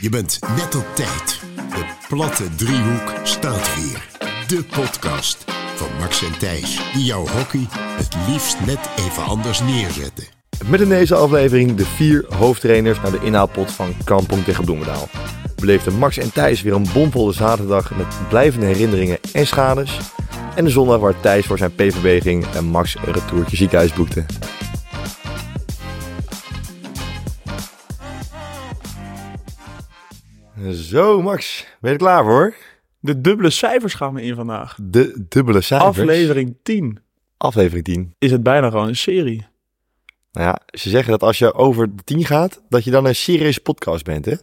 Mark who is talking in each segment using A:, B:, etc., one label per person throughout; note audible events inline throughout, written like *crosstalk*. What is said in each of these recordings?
A: Je bent net op tijd. De platte driehoek staat weer. De podcast van Max en Thijs, die jouw hockey het liefst net even anders neerzetten.
B: Met in deze aflevering de vier hoofdtrainers naar de inhaalpot van Kampong tegen Bloemendaal. Beleefden Max en Thijs weer een bomvolle zaterdag met blijvende herinneringen en schades. En de zondag waar Thijs voor zijn PVB ging en Max een retourtje ziekenhuis boekte. Zo Max, ben je er klaar voor?
C: De dubbele cijfers gaan we in vandaag.
B: De dubbele cijfers.
C: Aflevering 10
B: Aflevering 10.
C: is het bijna gewoon een serie.
B: Nou ja, ze zeggen dat als je over de 10 gaat, dat je dan een serieuze podcast bent hè?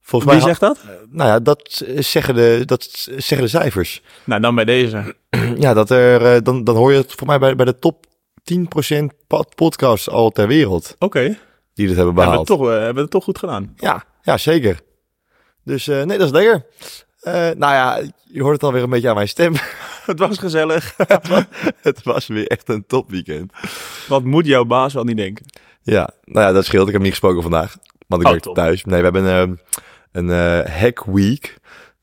B: Volgens
C: Wie
B: ha-
C: zegt dat?
B: Nou ja, dat eh, zeggen de, dat zeggen de cijfers.
C: Nou, dan bij deze.
B: Ja, dat er, eh, dan, dan hoor je het voor mij bij, bij de top 10% pod- podcasts al ter wereld
C: Oké, we
B: die dit hebben
C: hebben, het
B: behaald.
C: toch, eh, hebben we het toch goed
B: *laughs*
C: gedaan.
B: Ja, ja, zeker. Dus eh, nee, dat is lekker. Eh, nou ja, je hoort het alweer een beetje aan mijn stem. *laughs*
C: Het was gezellig.
B: het was weer echt een topweekend.
C: Wat moet jouw baas wel niet denken?
B: Ja, nou ja, dat scheelt. Ik heb hem niet gesproken vandaag, want ik
C: Oh,
B: werk
C: top.
B: thuis. Nee, we hebben een, eh, een eh, hack week.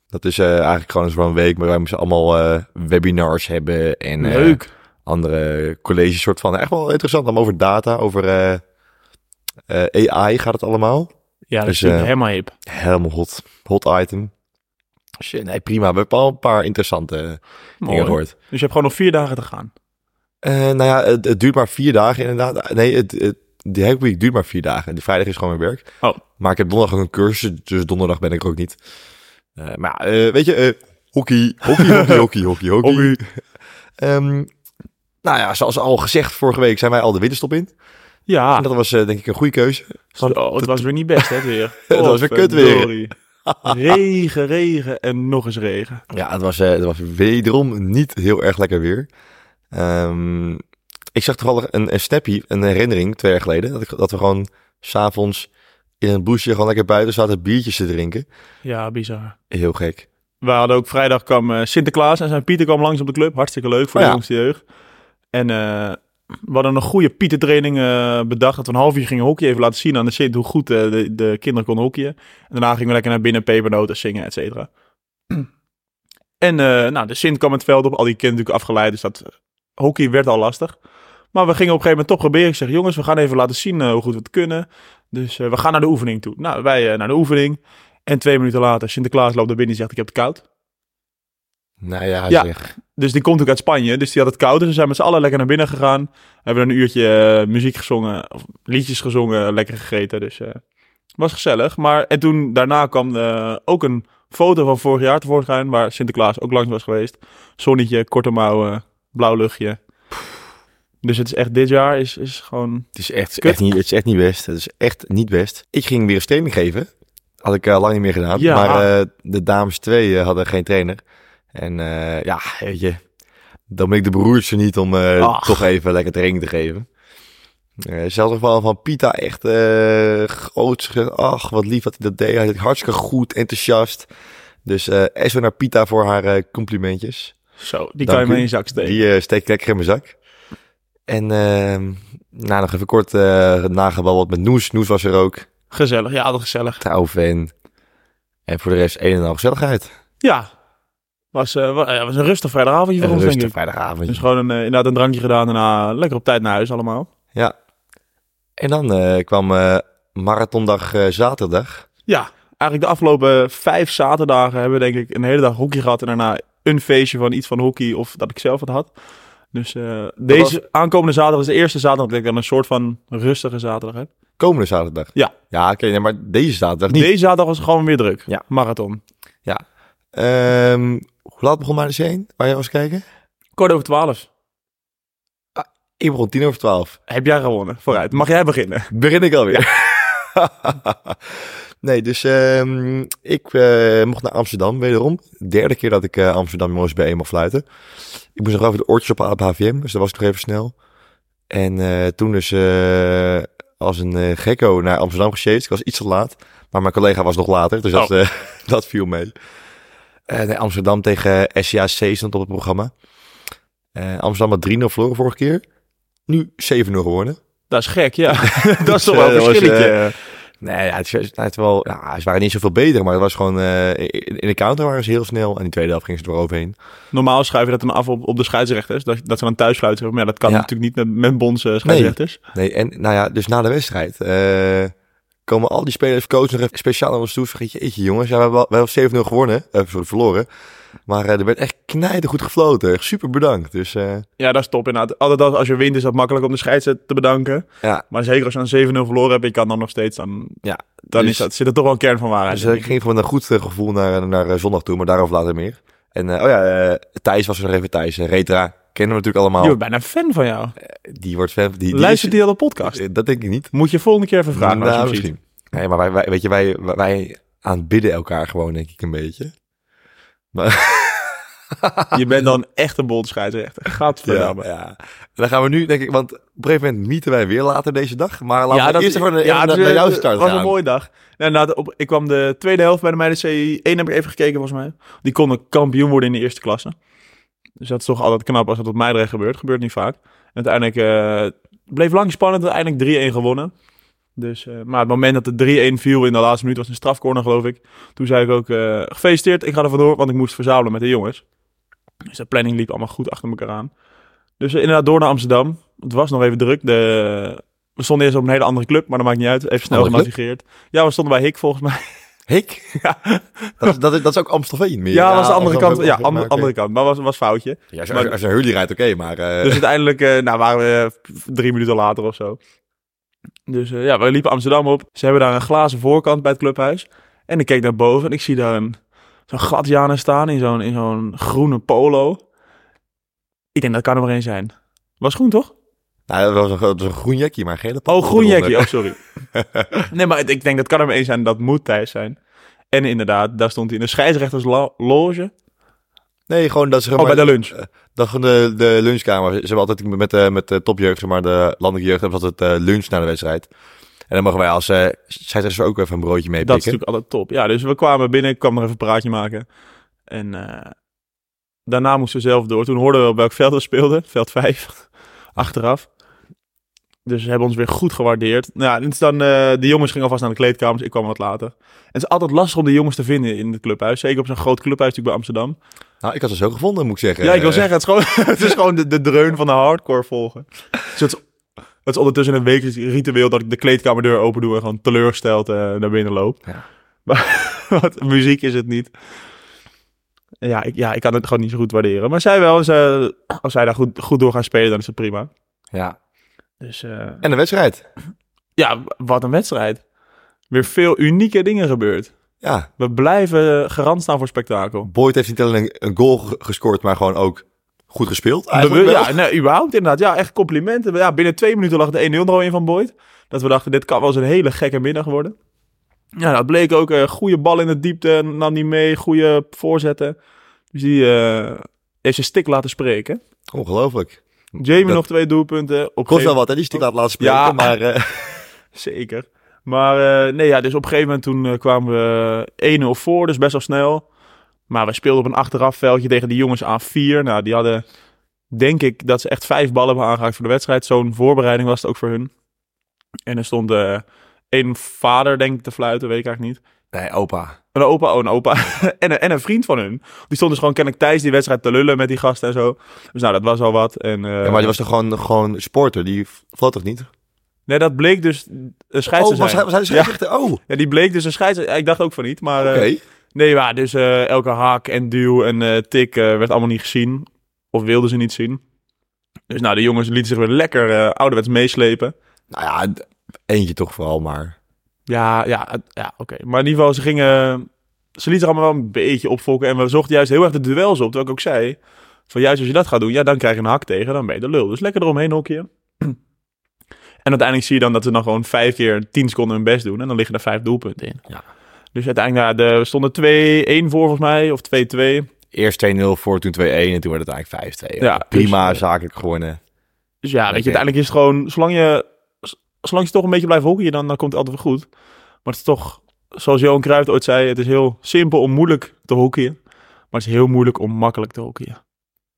B: Dat is eh, eigenlijk gewoon zo'n week, maar wij moesten allemaal eh, webinars hebben. En, eh,
C: Leuk.
B: andere colleges soort van. Echt wel interessant, dan over data, over eh, eh, AI gaat het allemaal.
C: Ja, dat
B: dus,
C: is natuurlijk
B: eh,
C: helemaal hip.
B: Helemaal hot, hot item. Shit, nee, prima. We hebben al een paar interessante eh,
C: Mooi.
B: dingen gehoord.
C: Dus je hebt gewoon nog vier dagen te gaan.
B: Eh, nou ja, het, het duurt maar vier dagen inderdaad. Nee, het, het, de hack week duurt maar vier dagen. De vrijdag is gewoon mijn werk.
C: Oh.
B: Maar ik heb donderdag ook een cursus, dus donderdag ben ik er ook niet. Eh, maar ja, eh, weet je, eh, hockey, hockey, hockey, hockey, hockey, hockey. Ehm, nou ja, zoals al gezegd vorige week zijn wij al de winterstop in.
C: Ja,
B: En dat was eh, denk ik een goede keuze.
C: Zo, het was weer niet best, hè, het weer.
B: *laughs* Het was weer kut weer.
C: Potverdorie. Regen, regen en nog eens regen.
B: Ja, het was, eh, het was wederom niet heel erg lekker weer. Ehm, ik zag toevallig een, een snappy, een herinnering twee jaar geleden. Dat, ik, dat we gewoon s'avonds in een bloesje gewoon lekker buiten zaten biertjes te drinken.
C: Ja, bizar.
B: Heel gek.
C: We hadden ook vrijdag kwam eh, Sinterklaas en zijn Pieter kwam langs op de club. Hartstikke leuk voor
B: Oh
C: de
B: ja.
C: jongste jeugd. En eh, we hadden een goede Pieter-training eh, bedacht. Dat we een half uur gingen hockey even laten zien aan de shit hoe goed eh, de, de kinderen konden hockeyen. En daarna gingen we lekker naar binnen, pepernoten zingen, et cetera. *clears throat* En eh, nou, de Sint kwam het veld op. Al die kinderen natuurlijk afgeleid, dus dat eh, hockey werd al lastig. Maar we gingen op een gegeven moment toch proberen. Ik zeg, jongens, we gaan even laten zien eh, hoe goed we het kunnen. Dus eh, we gaan naar de oefening toe. Nou, wij eh, naar de oefening. En twee minuten later, Sinterklaas loopt naar binnen en zegt, ik heb het koud.
B: Nou ja,
C: Ja.
B: zeg.
C: Dus die komt ook uit Spanje. Dus die had het koud. Dus we zijn met z'n allen lekker naar binnen gegaan. Hebben een uurtje eh, muziek gezongen. Of liedjes gezongen. Lekker gegeten. Dus eh was gezellig. Maar en toen daarna kwam eh, ook een foto van vorig jaar tevoorschijn. Waar Sinterklaas ook langs was geweest. Zonnetje, korte mouwen, blauw luchtje. Dus het is echt dit jaar is, is gewoon...
B: Het is echt,
C: Kut.
B: echt niet, het is echt niet best. Het is echt niet best. Ik ging weer een stemming geven. Had ik eh, lang niet meer gedaan.
C: Ja.
B: Maar eh, de dames twee eh, hadden geen trainer. En eh, ja, weet je. Dan ben ik de broertje niet om eh,
C: Ach.
B: toch even lekker training te geven. Eh zelfs geval van Pita echt eh groot. ge- Ach, wat lief dat hij dat deed. Hij deed hartstikke goed, enthousiast. Dus eh SO naar Pita voor haar eh, complimentjes.
C: Zo, die
B: Dank
C: kan je
B: u.
C: maar in je zak steken.
B: Die eh, steek ik lekker in mijn zak. En ehm nou, nog even kort eh nagebabbeld met Noes. Noes was er ook,
C: Gezellig. Ja, dat gezellig.
B: trouw fan. En voor de rest een en al gezelligheid.
C: Ja. Was, eh, wa- ja, was een rustig vrijdagavondje voor
B: Een
C: ons, denk
B: rustig
C: ik.
B: vrijdagavond.
C: Dus gewoon een, eh, inderdaad een drankje gedaan. Daarna lekker op tijd naar huis allemaal.
B: Ja. En dan eh, kwam eh, marathondag eh, zaterdag.
C: Ja, eigenlijk de afgelopen vijf zaterdagen hebben we denk ik een hele dag hockey gehad. En daarna een feestje van iets van hockey of dat ik zelf het had. Dus eh, deze aankomende zaterdag is de eerste zaterdag dat ik dan een soort van rustige zaterdag heb.
B: Komende zaterdag.
C: Ja.
B: Ja, oké, nee, maar deze zaterdag niet.
C: Deze zaterdag was het gewoon weer druk.
B: Ja.
C: Marathon.
B: Ehm, hoe laat begon mijn heen? Waar jij was kijken?
C: Kort over twaalf.
B: Ik begon tien over twaalf.
C: Heb jij gewonnen? Vooruit. Mag jij beginnen?
B: Begin ik alweer. *laughs* nee, dus ehm, ik eh, mocht naar Amsterdam wederom. Derde keer dat ik eh, Amsterdam jongens bij mag fluiten. Ik moest nog even de oortjes op aan op HVM, dus dat was ik nog even snel. En eh, toen dus eh, als een eh, gekko naar Amsterdam gesjeest. Ik was iets te laat, maar mijn collega was nog later, dus dat, eh, *laughs* dat viel mee. Eh, nee, Amsterdam tegen SCAC stond op het programma. Eh, Amsterdam had 3-0 verloren vorige keer. Nu 7-0 geworden.
C: *laughs* Dat is gek, ja. dat is toch
B: eh,
C: wel een
B: dat was,
C: verschilletje.
B: Nee, ja, het, is- het is wel, ja, ze waren niet zoveel beter, maar het was gewoon... eh, in, in de counter waren ze heel snel en in de tweede helft gingen ze er wel overheen.
C: Normaal schuiven dat dan af op, op de scheidsrechters. Dat, dat ze dan thuis fluiten. Maar ja, dat kan
B: Ja.
C: natuurlijk niet met, met Bons eh, scheidsrechters.
B: Nee, en nou ja, dus na de wedstrijd eh, komen al die spelers, coaches nog even speciaal naar ons toe. Vergeet je, jeetje jongens, ja, we hebben wel- we hebben 7-0 gewonnen, Eh, sorry, verloren. Maar eh, er werd echt knijden goed gefloten. Echt Super bedankt. Dus eh,
C: Ja, dat is top inderdaad. Altijd als, als je wint is dat makkelijk om de scheidsrechter te bedanken.
B: ja,
C: Maar zeker als je aan 7-0 verloren hebt, je kan dan nog steeds. Dan,
B: Ja,
C: dan
B: dus-
C: is dat, zit er toch wel een kern van waarheid.
B: dus
C: in,
B: eh, ik
C: denk ik.
B: ging van een goed eh, gevoel naar, naar eh, zondag toe, maar daarover later meer. En eh, oh ja, eh, Thijs was er nog even, Thijs. eh, Retra, kennen we natuurlijk allemaal.
C: Je wordt bijna fan van jou.
B: Die wordt fan. Die, die
C: Luistert
B: is-
C: die al de podcast?
B: Eh, Dat denk ik niet.
C: Moet je volgende keer even vragen. als je
B: Nou,
C: hem ziet.
B: misschien. Nee, maar wij, wij, weet je, wij, wij- wij aanbidden elkaar gewoon, denk ik, een beetje.
C: Je bent dan echt een bond scheidsrechter. *laughs*
B: Ja,
C: Gadverdamme.
B: ja. En dan gaan we nu, denk ik, want op een gegeven moment mieten wij weer later deze dag. Maar laten we eerst even naar,
C: ja,
B: naar,
C: dat-
B: naar jouw
C: eh,
B: start
C: was
B: gaan.
C: een mooie dag. Nou, inderdaad, op, ik kwam de tweede helft bij de meiden C1, heb ik even gekeken volgens mij. Die konden kampioen worden in de eerste klasse. Dus dat is toch altijd knap als dat op Meidrecht gebeurt. Gebeurt niet vaak. En uiteindelijk eh, bleef lang spannend. Uiteindelijk 3-1 gewonnen. Dus, eh, maar het moment dat de 3-1 viel in de laatste minuut was een strafcorner geloof ik. Toen zei ik ook eh, gefeliciteerd, ik ga er vandoor, want ik moest verzamelen met de jongens. Dus de planning liep allemaal goed achter elkaar aan. Dus eh, inderdaad door naar Amsterdam. Het was nog even druk. De, we stonden eerst op een hele andere club, maar dat maakt niet uit. Even snel
B: Andere club?
C: genavigeerd. Ja, we stonden bij Hik volgens mij. *laughs*
B: Hik? Dat, is- dat, is, dat is ook Amstelveen meer.
C: Ja, was de andere
B: Amstelveen
C: kant. Ja,
B: ook, maar
C: am-
B: oké.
C: andere kant. Maar was, was foutje.
B: Ja, als, je- als, je- als je een hurley rijdt, oké, maar... eh,
C: *laughs* Dus uiteindelijk eh, nou, waren we eh, drie minuten later of zo. Dus eh, ja, we liepen Amsterdam op. Ze hebben daar een glazen voorkant bij het clubhuis. En ik keek naar boven en ik zie daar een, zo'n Gladianer staan in zo'n, in zo'n groene polo. Ik denk, dat kan er maar één zijn. Was groen, toch?
B: nou, dat was, een, dat was een groen jackie, maar een gele
C: Oh,
B: pop
C: groen
B: eronder.
C: jackie. Oh, sorry. *laughs* nee, maar het- ik denk, dat kan er maar één zijn. Dat moet Thijs zijn. En inderdaad, daar stond hij in de scheidsrechtersloge.
B: Nee, gewoon dat ze...
C: Oh, bij de lunch.
B: Dan gewoon de, de lunchkamer. Ze hebben altijd met, de met de topjeugd, zeg maar de landelijke jeugd, hebben ze altijd eh, lunch na de wedstrijd. En dan mogen wij als eh scheidsrechter ook even een broodje
C: Dat is
B: meepikken.
C: natuurlijk altijd top. Ja, dus we kwamen binnen, ik kwam nog even een praatje maken. En eh, daarna moesten we zelf door. Toen hoorden we op welk veld we speelden. Veld 5. *laughs* Achteraf. Dus ze hebben ons weer goed gewaardeerd. Nou, ja, dit is dan, eh, de jongens gingen alvast naar de kleedkamers. Ik kwam wat later. En het is altijd lastig om de jongens te vinden in het clubhuis. Zeker op zo'n groot clubhuis natuurlijk bij Amsterdam.
B: Nou, ik had ze zo gevonden, moet ik zeggen.
C: Ja, ik wil
B: Eh,
C: zeggen, het is gewoon, *laughs* het is gewoon de, de dreun van de hardcore volgen. Dus het, is, het is ondertussen een week ritueel dat ik de kleedkamerdeur open doe en gewoon teleurgesteld eh, naar binnen loop.
B: Ja.
C: Maar *laughs* wat, muziek is het niet. Ja ik, ja, ik kan het gewoon niet zo goed waarderen. Maar zij wel, ze, als zij daar goed, goed door gaan spelen, dan is het prima.
B: Ja.
C: Dus eh,
B: En de wedstrijd.
C: ja, wat een wedstrijd. Weer veel unieke dingen gebeurd.
B: Ja,
C: We blijven garant staan voor spektakel.
B: Boyd heeft niet alleen een- een goal ge- gescoord, maar gewoon ook goed gespeeld. Eigenlijk
C: Bewust,
B: wel.
C: ja, nee, überhaupt inderdaad. Ja, echt complimenten. Ja, binnen twee minuten lag de 1-0 er al in van Boyd. Dat we dachten, dit kan wel eens een hele gekke middag worden. Ja, dat bleek ook. eh goede bal in de diepte, nam die mee, goede voorzetten. Dus die eh, heeft zijn stick laten spreken.
B: Ongelooflijk.
C: Jamie
B: Dat-
C: nog twee doelpunten. Op
B: Kost wel
C: gegeven-
B: wat, hè? Die stiek laat laten spreken,
C: Ja.
B: maar... eh,
C: Zeker. Maar eh, nee, ja, dus op een gegeven moment toen eh, kwamen we 1-0 voor, dus best wel snel. Maar we speelden op een achterafveldje tegen die jongens aan 4. Nou, die hadden, denk ik, dat ze echt vijf ballen hebben aangeraakt voor de wedstrijd. Zo'n voorbereiding was het ook voor hun. En er stond eh één vader, denk ik, te fluiten, weet ik eigenlijk niet.
B: Nee, opa.
C: Een opa, oh, een opa. *laughs* en, een, en een vriend van hun. Die stond dus gewoon, ken ik Thijs, die wedstrijd te lullen met die gasten en zo. Dus nou, dat was al wat. En, eh,
B: Ja, maar die was toch gewoon, gewoon sporter? Die vloot toch niet?
C: Nee, dat bleek dus een scheidsrechter
B: oh, was
C: zijn.
B: hij, was hij de
C: ja,
B: scheidsrechter? Oh, oké.
C: ja, die bleek dus een scheidsrechter. Ik dacht ook van niet, maar... eh, Nee, maar dus eh, elke haak en duw en eh, tik eh, werd allemaal niet gezien. Of wilden ze niet zien. Dus nou, de jongens lieten zich weer lekker eh, ouderwets meeslepen.
B: Nou ja, d- eentje toch vooral, maar...
C: Ja, ja, het- ja oké. Maar in ieder geval, ze gingen... Ze lieten zich allemaal wel een beetje opfokken. En we zochten juist heel erg de duels op. Terwijl ik ook zei... Van juist als je dat gaat doen, ja, dan krijg je een hak tegen. Dan ben je de lul. Dus lekker eromheen hokje. *clears throat* En uiteindelijk zie je dan dat ze dan gewoon vijf keer tien seconden hun best doen. En dan liggen er vijf doelpunten in.
B: Ja.
C: Dus uiteindelijk, nou, de, we stonden 2-1 voor volgens mij. Of 2-2.
B: Eerst 2-0 voor, toen 2-1 en toen werd het eigenlijk 5-2.
C: Ja,
B: Prima,
C: dus, eh,
B: zakelijk gewonnen.
C: Dus ja, weet je,
B: Oké.
C: uiteindelijk is het gewoon, zolang je, z- zolang je toch een beetje blijft hockeyen, dan, dan komt het altijd wel goed. Maar het is toch, zoals Johan Cruijff ooit zei, het is heel simpel om moeilijk te hockeyen. Maar het is heel moeilijk om makkelijk te hockeyen.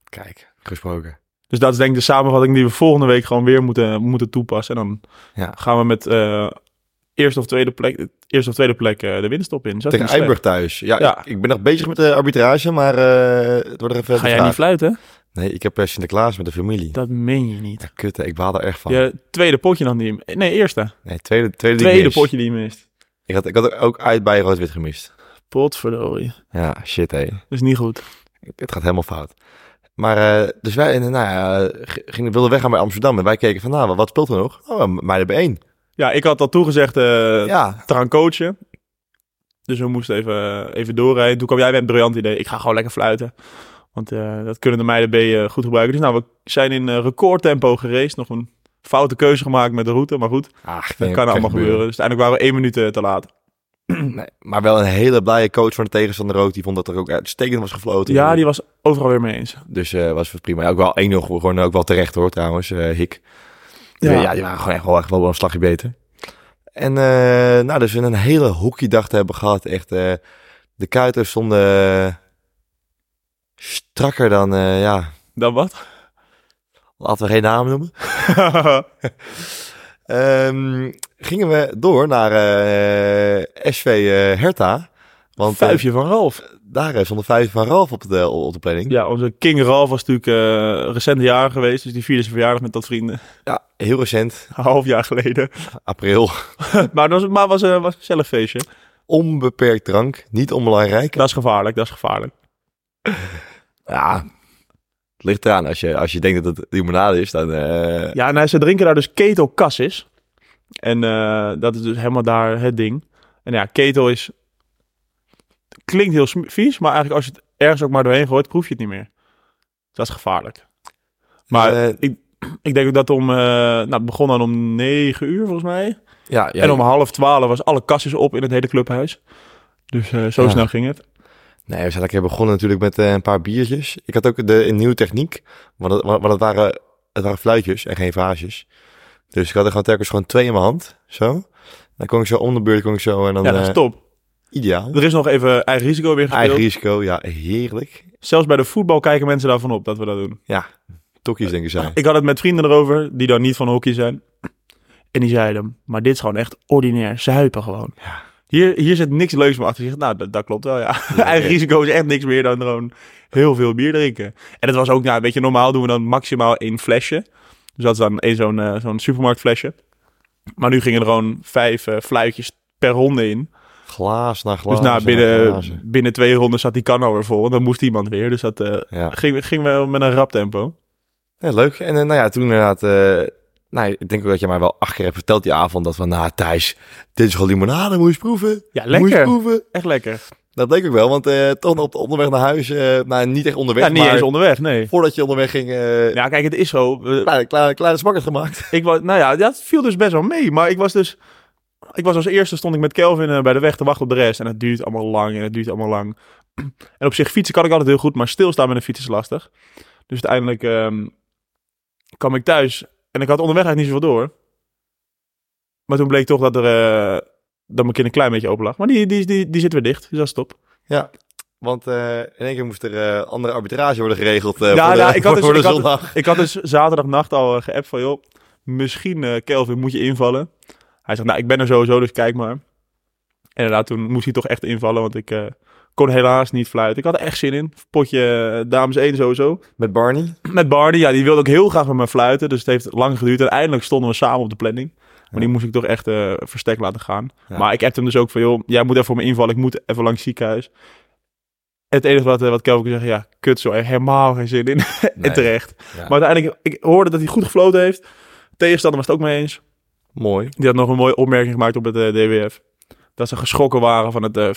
B: Kijk, gesproken.
C: Dus dat is denk ik de samenvatting die we volgende week gewoon weer moeten, moeten toepassen. En dan
B: Ja.
C: gaan we met eh, eerste of tweede plek, eerste of tweede plek eh, de winst op in. Dus dat is
B: Tegen
C: niet slecht.
B: Eiburg thuis. Ja,
C: Ja.
B: Ik, ik ben nog bezig met de arbitrage, maar eh, het wordt er even
C: Ga jij niet fluiten?
B: Nee, ik heb eh, Sinterklaas met de familie.
C: Dat meen je niet.
B: Ja, kut, hè, ik baal er echt van.
C: Je tweede potje dan die... Nee, eerste.
B: Nee, tweede, tweede, die ik
C: Tweede
B: mis.
C: potje die je mist.
B: Ik had, ik had ook uit bij Rood-Wit gemist.
C: Potverdorie.
B: Ja, shit hé.
C: Dat is niet goed.
B: Het gaat helemaal fout. Maar, eh, dus wij eh, nou, ja, g- gingen, wilden weggaan bij Amsterdam. En wij keken van, nou, wat speelt er nog? Oh, meiden bij één.
C: Ja, ik had al toegezegd eh
B: Ja,
C: te gaan coachen. Dus we moesten even, even doorrijden. Toen kwam jij met een briljant idee. Ik ga gewoon lekker fluiten. Want eh, dat kunnen de meiden B eh, goed gebruiken. Dus nou, we zijn in eh, recordtempo geraced. Nog een foute keuze gemaakt met de route. Maar goed,
B: Ach, nee,
C: dat kan allemaal gebeuren. Dus uiteindelijk waren we één minuut eh, te laat.
B: Nee, maar wel een hele blije coach van de tegenstander rood. Die vond dat er ook uitstekend was gefloten.
C: Ja, die was overal weer mee eens.
B: Dus eh was het prima. Ook wel 1-0 gewoon ook wel terecht hoor trouwens, eh Hik.
C: Ja.
B: Ja. ja, die waren gewoon echt wel, echt wel een slagje beter. En eh, nou, dus we een hele hockeydag te hebben gehad. Echt, eh, de kuiten stonden eh, strakker dan, eh, ja,
C: Dan *laughs* wat?
B: laten we geen naam noemen. Ehm, gingen we door naar eh, SV eh Herta. Want eh,
C: Vijfje van Ralf.
B: daar eh, stonden vijf van Ralf op de, op de planning.
C: Ja, onze King Ralf was natuurlijk eh recent jaar geweest. Dus die vierde zijn verjaardag met dat vrienden. *laughs*
B: Ja, heel recent,
C: Een half jaar *laughs* geleden.
B: april. *laughs*
C: maar dat was, maar was, eh, was een gezellig feestje.
B: Onbeperkt drank, niet onbelangrijk.
C: Dat is gevaarlijk, dat is gevaarlijk.
B: Ja, het ligt eraan. Als je, als je denkt dat het limonade is, dan... eh,
C: Ja, nou, ze drinken daar dus ketel cassis. En eh, dat is dus helemaal daar het ding. En ja, ketel is... Klinkt heel sm- vies, maar eigenlijk als je het ergens ook maar doorheen gooit, proef je het niet meer. Dat is gevaarlijk. Maar
B: eh,
C: ik, ik denk ook dat om... eh, nou, het begon dan om negen uur volgens mij.
B: ja, ja,
C: En om half twaalf was alle kasjes op in het hele clubhuis. Dus eh, zo
B: Ja.
C: snel ging het.
B: Nee, we zijn lekker begonnen natuurlijk met eh, een paar biertjes. Ik had ook de, een nieuwe techniek, want het, want het, waren, het waren fluitjes en geen vaasjes. Dus ik had er gewoon telkens gewoon twee in mijn hand, zo. Dan kon ik zo om de beurt, kon ik zo en dan...
C: Ja, dat is
B: eh,
C: top.
B: ideaal.
C: Er is nog even eigen risico weer gespeeld.
B: Eigen risico, ja, heerlijk.
C: Zelfs bij de voetbal kijken mensen daarvan op dat we dat doen.
B: Tokkies denken zij.
C: Ik had het met vrienden erover, die dan niet van hockey zijn. En die zeiden, maar dit is gewoon echt ordinair zuipen gewoon. Hier, hier zit niks leuks meer achter. Je zegt, nou, dat, dat klopt wel, ja. Eigen risico is echt niks meer dan gewoon heel veel bier drinken. En het was ook, nou, weet je, normaal doen we dan maximaal één flesje. Dus dat is dan één zo'n eh, zo'n supermarktflesje. Maar nu gingen er gewoon vijf eh, fluitjes per ronde in.
B: Glaas na glaas.
C: Dus nou,
B: na
C: binnen,
B: glazen.
C: binnen twee ronden zat die kan alweer vol. En dan moest iemand weer. Dus dat eh,
B: Ja.
C: ging, ging wel met een rap tempo.
B: Ja, leuk. En eh, nou ja, toen inderdaad... eh, nou, ik denk ook dat je mij wel acht keer hebt verteld die avond... dat van, nou Thijs, dit is gewoon limonade, moet je eens proeven.
C: Ja,
B: Moet je eens
C: lekker.
B: proeven.
C: Echt lekker.
B: Dat leek ook wel, want eh, toch op de onderweg naar huis... eh, nou, niet echt onderweg,
C: Ja, niet
B: maar
C: eens onderweg, nee.
B: voordat je onderweg ging... eh
C: Ja, kijk, het is zo. We-
B: kleine, kleine, kleine smakkers gemaakt. *laughs*
C: Ik was, nou ja, dat viel dus best wel mee. Maar ik was dus... Ik was als eerste, stond ik met Kelvin eh, bij de weg te wachten op de rest. En het duurt allemaal lang en het duurt allemaal lang. En op zich fietsen kan ik altijd heel goed, maar stilstaan met een fiets is lastig. Dus uiteindelijk ehm, kwam ik thuis en ik had onderweg eigenlijk niet zoveel door. Maar toen bleek toch dat, er, eh, dat mijn kind een klein beetje open lag. Maar die, die, die, die zit weer dicht, dus dat is top.
B: Ja. Want eh, in één keer moest er eh, andere arbitrage worden geregeld eh,
C: Ja,
B: voor, de,
C: nou, ik had dus-
B: voor de
C: ik had-
B: zondag.
C: Ik had dus zaterdagnacht al eh, geappt van, joh, misschien eh Kelvin moet je invallen. Hij zegt, nou, ik ben er sowieso, dus kijk maar. En inderdaad, toen moest hij toch echt invallen, want ik eh, kon helaas niet fluiten. Ik had er echt zin in. Potje eh, dames 1 sowieso.
B: Met
C: *laughs*
B: Barney.
C: Met Barney, ja, die wilde ook heel graag met me fluiten. Dus het heeft lang geduurd. En eindelijk stonden we samen op de planning. Maar die moest ik toch echt eh, verstek laten gaan.
B: Ja.
C: Maar ik appte hem dus ook van, joh, jij moet even voor me invallen. Ik moet even langs het ziekenhuis. Het enige wat, eh, wat Kelvin kon zeggen, ja, kut zo, helemaal geen zin in.
B: Nee.
C: En terecht.
B: Ja.
C: Maar uiteindelijk, ik hoorde dat hij goed gefloten heeft. Tegenstander was het ook mee eens.
B: Mooi.
C: Die had nog een mooie opmerking gemaakt op het eh, DWF. Dat ze geschrokken waren van het eh,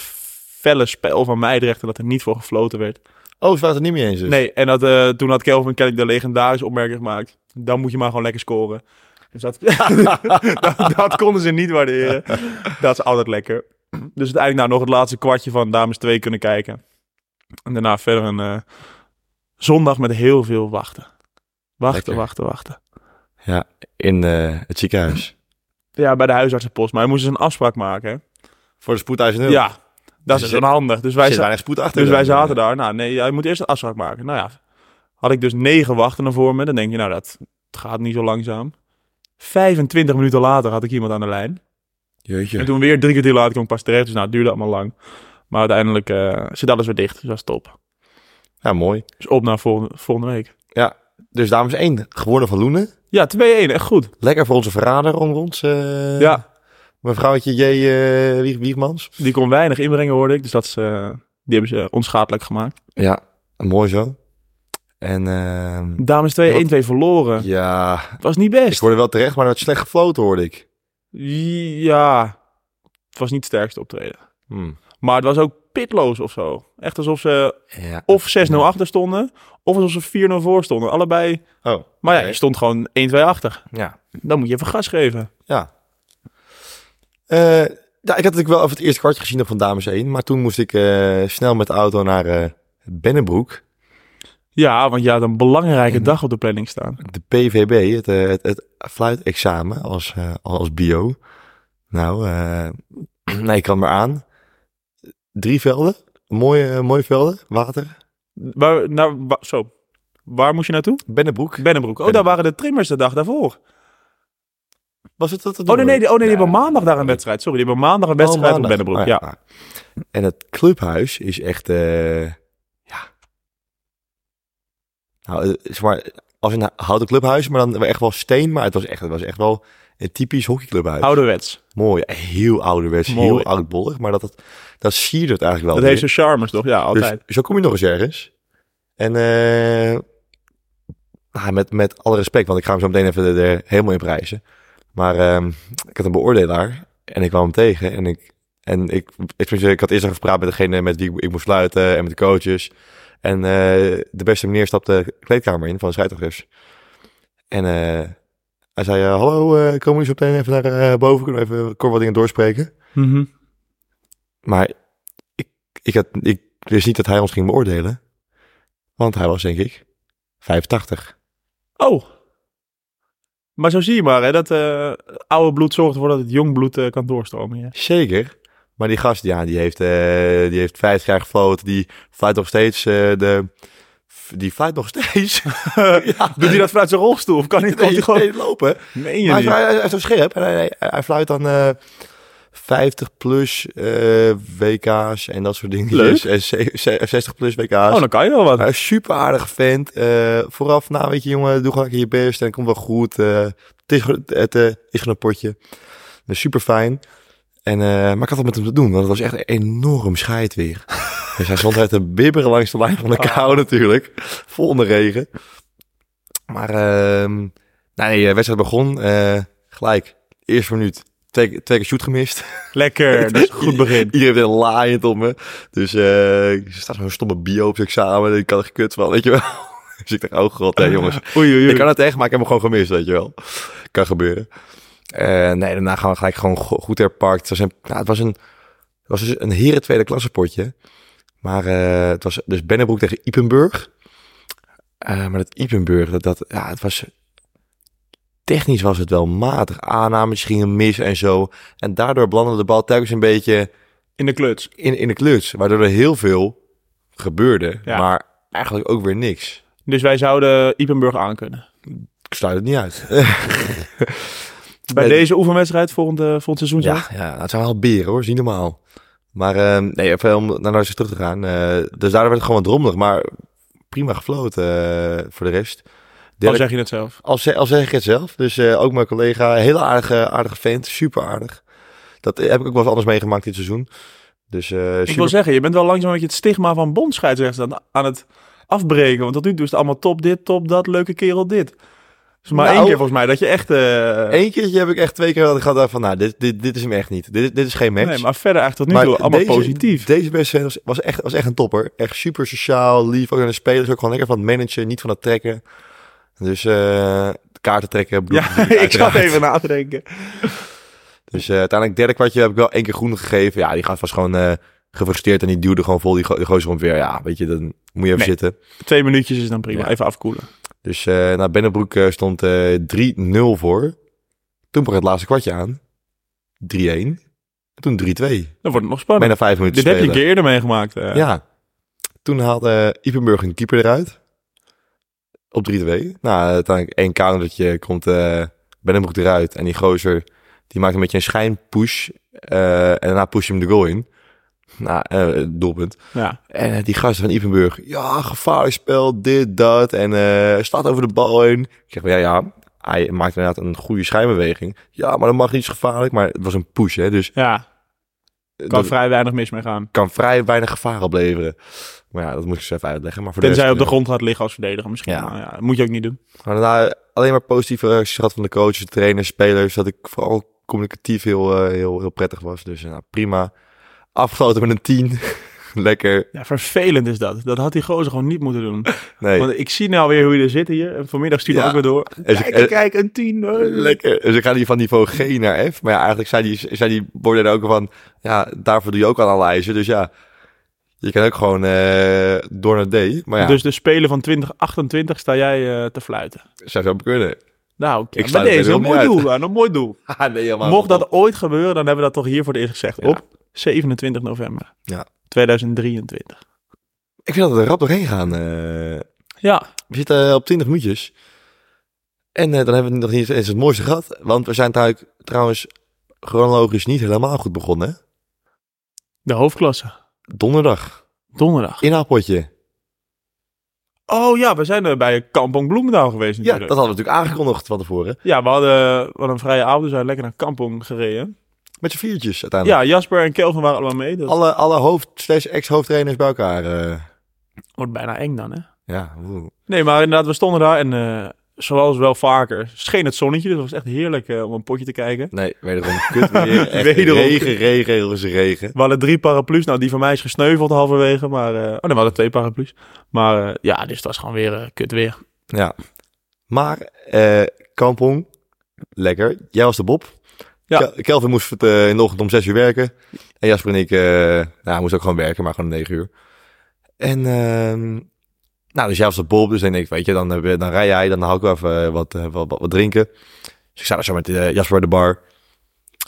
C: felle spel van Meidrecht en dat er niet voor gefloten werd.
B: Oh, ze waren het er niet mee eens dus.
C: Nee, en dat, eh, toen had Kelvin kennelijk de legendarische opmerking gemaakt. Dan moet je maar gewoon lekker scoren. Dus dat, *laughs* dat, dat konden ze niet waarderen. Dat is altijd lekker. Dus uiteindelijk nou, nog het laatste kwartje van dames 2 kunnen kijken. En daarna verder een eh, zondag met heel veel wachten. Wachten,
B: Lekker.
C: wachten, wachten.
B: In eh, het ziekenhuis.
C: Ja, bij de huisartsenpost. Maar hij moest dus een afspraak maken. hè.
B: Voor de spoedeisende
C: Ja, dat is
B: Dus
C: dan
B: je-
C: handig. Dus wij,
B: zit
C: za-
B: weinig spoed achter.
C: dus
B: dan. eh.
C: wij zaten daar. Nou, nee, ja, je moet eerst een afspraak maken. Nou ja, had ik dus negen wachtenden voor me. Dan denk je, nou, dat gaat niet zo langzaam. 25 minuten later had ik iemand aan de lijn.
D: Jeetje.
C: En toen weer drie kwartier later kwam ik pas terecht. Dus nou, het duurde allemaal lang. Maar uiteindelijk eh, zit alles weer dicht. Dus dat is top.
B: Ja, mooi.
C: Dus op naar volgende, volgende week.
B: Dus dames één, geworden van Loenen.
C: Ja, 2-1. Echt goed.
B: Lekker voor onze verrader onder ons. eh,
C: Ja,
B: Mevrouwtje J. eh, Wieg- Wiegmans.
C: die kon weinig inbrengen, hoorde ik. Dus dat is, eh, die hebben ze onschadelijk gemaakt.
B: Ja, mooi zo. En ehm,
C: Dames 2, 1-2 verloren.
B: ja,
C: Het was niet
B: ik
C: best.
B: hoorde wel terecht, maar dat slecht gefloten hoorde ik.
C: Ja, het was niet het sterkste optreden.
B: Hmm.
C: Maar het was ook pitloos of zo. Echt alsof ze
B: Ja.
C: of 6-0 achter stonden, of alsof ze 4-0 voor stonden. Allebei.
B: Oh,
C: Maar ja,
B: oké.
C: je stond gewoon 1-2 achter.
B: ja.
C: Dan moet je even gas geven.
B: Eh, ja, ik had natuurlijk wel even het eerste kwartje gezien op van Dames 1. Maar toen moest ik eh, snel met de auto naar eh Bennebroek.
C: Ja, want je had een
B: Mhm.
C: belangrijke dag op de planning staan.
B: De PVB, het, eh, het, het fluitexamen als, eh, als bio. Nou, eh, *clears throat* nee, ik kan maar aan. Drie velden, mooie, eh, mooie velden, water.
C: Waar, nou, wa- zo. Waar moest je naartoe?
B: Bennebroek.
C: Bennebroek. Oh, daar waren de trimmers de dag daarvoor.
B: Was het dat? het
C: Oh nee, nee,
B: nummer?
C: die, oh, nee, die
B: Ja.
C: hebben maandag daar een wedstrijd. Sorry, die hebben maandag een wedstrijd
B: Oh,
C: op
B: maandag.
C: Bennebroek.
B: Ah,
C: ja.
B: ah. En het clubhuis is echt, eh, ja. Nou, eh, zeg maar, als een houten clubhuis, maar dan echt wel steen. Maar het was echt, het was echt wel een typisch hockeyclubhuis.
C: Ouderwets.
B: Mooi, heel ouderwets,
C: Mooi.
B: heel oudbollig. Maar dat, dat, dat siert het eigenlijk wel.
C: Dat
B: weer.
C: heeft zijn charmes toch? Ja,
B: Dus
C: altijd.
B: zo kom je nog eens ergens. En eh, nou, met, met alle respect, want ik ga hem zo meteen even er- er helemaal in prijzen. Maar ehm, ik had een beoordelaar en ik kwam hem tegen. En ik, en ik, ik, tenminste, ik had eerst even gepraat met degene met wie ik, ik moest sluiten en met de coaches. En eh, de beste meneer stapte de kleedkamer in van de scheidsrechters. En eh, hij zei, eh, hallo, eh, komen jullie zo meteen even naar eh, boven? Kunnen we even kort wat dingen doorspreken?
C: Mhm.
B: Maar ik, ik, had, ik wist niet dat hij ons ging beoordelen. Want hij was, denk ik, 85.
C: Oh. Maar zo zie je maar, hè, dat eh, oude bloed zorgt ervoor dat het jong bloed eh, kan doorstromen. Ja.
B: Zeker. Maar die gast, ja, die heeft, eh, die heeft 50 jaar gefloten. Die fluit nog steeds eh, de... Die fluit nog
C: *laughs*
B: steeds. ja,
C: Doet hij dat vanuit zijn rolstoel? Of kan hij, komt
B: nee,
C: hij gewoon...
B: nee, lopen.
C: Meen je
B: Maar hij,
C: niet?
B: hij, hij is zo scherp. En hij, hij, hij fluit dan eh, 50 plus eh, WK's en dat soort dingetjes. En ze- ze- 60 plus WK's.
C: Oh, dan kan je wel wat.
B: Hij is super aardig vent. Eh, vooraf, nou weet je jongen, doe gewoon lekker je best en het komt wel goed. Eh, het is, gewoon- het, eh, is gewoon een potje. Dus super fijn. En, eh, maar ik had het met hem te doen, want het was echt een enorm scheid weer. *laughs* dus hij stond uit te bibberen langs de lijn van de kou natuurlijk. Vol onder regen. Maar ehm nee, de wedstrijd begon eh, gelijk. Eerste minuut. Twee, twee keer shoot gemist.
C: *laughs*
B: *laughs*
C: Lekker, dat is een goed begin.
B: Iedereen werd laaiend op me. Dus eh er staat zo'n stomme bio op zijn examen. Ik kan er gekut van, weet je wel. *laughs* Dus ik dacht, oh
C: *laughs*
B: god, hè, jongens.
C: Oei, oei, oei.
B: Ik kan het echt, maar ik heb hem gewoon gemist, weet je wel. Kan gebeuren. Eh, nee, daarna gaan we gelijk gewoon go- goed herpakt. Het was een, nou, het was een, het was dus een heren tweede klasse potje. Maar eh, het was dus Bennebroek tegen Ipenburg. Eh, maar dat Ipenburg, dat, dat, ja, het was... Technisch was het wel matig. Aannames gingen mis en zo. En daardoor belandde de bal telkens een beetje
C: In de kluts.
B: in, in de kluts. Waardoor er heel veel gebeurde,
C: Ja.
B: maar eigenlijk ook weer niks.
C: Dus wij zouden Ipenburg aankunnen.
B: Ik sluit het niet uit. *laughs*
C: Bij
B: Nee,
C: deze oefenwedstrijd volgend, eh, volgend seizoen zo?
B: ja, ja, het zijn wel beren hoor, is niet normaal. Maar ehm, nee, even om naar Narcissus terug te gaan. eh, dus daardoor werd het gewoon wat rommelig, maar prima gefloten eh, voor de rest.
C: Dan
B: Derde-
C: zeg je het zelf.
B: Al, ze- al zeg ik het zelf. Dus eh, ook mijn collega, heel aardige, aardige vent, super aardig. Dat eh, heb ik ook wel eens anders meegemaakt dit seizoen. Dus eh, super
C: Ik wil zeggen, je bent wel langzaam een beetje het stigma van bondscheidsrechts aan, aan het afbreken. Want tot nu toe is het allemaal top dit, top dat, leuke kerel dit. Dus maar
B: Nou,
C: één keer volgens mij dat je echt... eh,
B: Eén keertje heb ik echt twee keer dat ik gehad van, nou, dit, dit, dit is hem echt niet. Dit, dit is geen match.
C: Nee, maar verder eigenlijk tot nu toe allemaal
B: deze-
C: positief.
B: Deze best fan was, was, echt, was echt een topper. Echt super sociaal, lief. Ook naar de spelers, ook gewoon lekker van het managen, niet van het trekken. Dus eh, kaarten trekken. bloed-
C: Ja,
B: bloed,
C: *laughs* ik zat
B: uiteraard.
C: even na te denken.
B: Dus eh, uiteindelijk derde kwartje heb ik wel één keer groen gegeven. Ja, die gaf was gewoon eh, gefrustreerd en die duwde gewoon vol die, go- die gozer om weer. Ja, weet je, dan moet je even
C: Nee.
B: zitten.
C: Twee minuutjes is dan prima.
B: Ja.
C: Even afkoelen.
B: Dus eh nou, Bennebroek eh, stond eh 3-0 voor. Toen brak het laatste kwartje aan. 3-1. En toen 3-2.
C: Dan wordt het nog spannend.
B: Bijna vijf minuten
C: Oh, Dit heb je een
B: spelen.
C: keer eerder meegemaakt. eh.
B: Ja. Toen haalde uh, Ipenburg een keeper eruit. Op 3-2. Nou, uiteindelijk één countertje komt eh Bennenbroek eruit. En die gozer, die maakt een beetje een schijnpush. Eh, en daarna push je hem de goal in. Nou, eh, doelpunt.
C: Ja.
B: En eh, die gasten van Ipenburg. Ja, gevaarlijk spel, dit, dat. En eh staat over de bal heen. Ik zeg, maar, ja, ja. Hij maakt inderdaad een goede schijnbeweging. Ja, maar dat mag niet is gevaarlijk. Maar het was een push, hè. Dus
C: Ja,
B: eh,
C: kan
B: dat
C: vrij weinig mis mee gaan.
B: kan vrij weinig gevaar opleveren. Maar ja, dat moet ik eens even uitleggen. Maar voor de
C: Tenzij je
B: rest,
C: op de
B: eh,
C: grond gaat liggen als verdediger misschien.
B: Ja.
C: Maar ja, dat moet je ook niet doen.
B: Maar daarna alleen maar positieve reacties gehad van de coaches, trainers, spelers. Dat ik vooral communicatief heel, eh, heel, heel prettig was. Dus eh, nou, prima. Afgesloten met een 10. *laughs* Lekker.
C: Ja, vervelend is dat. Dat had die gozer gewoon niet moeten doen.
B: Nee.
C: Want ik zie nou weer hoe jullie zitten hier. En vanmiddag stuurt hij
B: Ja.
C: ook weer door.
B: En ze-
C: Kijk,
B: en-
C: kijk, een tien. eh.
B: Lekker. Dus ik ga hier van niveau G naar F. Maar ja, eigenlijk zijn die, zijn die borden er ook van... Ja, daarvoor doe je ook analyse. Dus ja, je kan ook gewoon eh, door naar D. Maar ja,
C: Dus de Spelen van 2028 sta jij eh, te fluiten.
B: zou zo kunnen. *laughs*
C: Nou,
B: Ik
C: ik
B: sluit
C: bij
B: het
C: deze.
B: er
C: Een mooi
B: helemaal niet
C: doel, Daan, een mooi doel.
B: Ah, nee, helemaal
C: Mocht
B: niet.
C: dat ooit gebeuren, dan hebben we dat toch hier voor het eerst gezegd.
B: Ja.
C: Op 27 november
B: Ja.
C: 2023.
B: Ik vind dat we er rap doorheen gaan. eh.
C: Ja,
B: We zitten eh, op 20 minuutjes. En eh, dan hebben we nog niet eens het mooiste gehad. Want we zijn trouw- trouwens chronologisch niet helemaal goed begonnen. hè?
C: de hoofdklasse.
B: Donderdag,
C: Donderdag.
B: inhaalpotje.
C: Oh ja, we zijn er bij Kampong Bloemendaal geweest
B: Ja,
C: natuurlijk.
B: dat hadden we natuurlijk aangekondigd van tevoren.
C: Ja, we hadden, we hadden een vrije avond, dus we zijn lekker naar Kampong gereden.
B: Met z'n viertjes uiteindelijk.
C: Ja, Jasper en Kelvin waren allemaal mee. Dat
B: Alle, alle hoofd- slash ex-hoofdtrainers bij elkaar. eh.
C: wordt bijna eng dan, hè?
B: ja, oeh.
C: Nee, maar inderdaad, we stonden daar en eh, zoals wel vaker scheen het zonnetje. Dus het was echt heerlijk eh, om een potje te kijken.
B: nee, wederom kut
C: *laughs*
B: weer. Echt
C: Wederom.
B: regen, regen, regen, regen.
C: We hadden drie paraplu's. Nou, die van mij is gesneuveld halverwege. Maar, eh, oh nee, we hadden twee paraplu's. Maar eh, ja, dus het was gewoon weer eh, kut weer.
B: Ja. Maar, eh Kampong, lekker. Jij was de Bob.
C: Ja.
B: Kel- Kelvin moest eh, in de ochtend om 6 uur werken. En Jasper en ik, eh nou, moest ook gewoon werken, maar gewoon om 9 uur. En, ehm, nou, dus jij was de Bob. Dus dan denk ik, weet je, dan, heb je- dan rij jij, dan haal ik wel even eh, wat, eh, wat, wat, wat drinken. Dus ik zat zo met eh, Jasper bij de bar.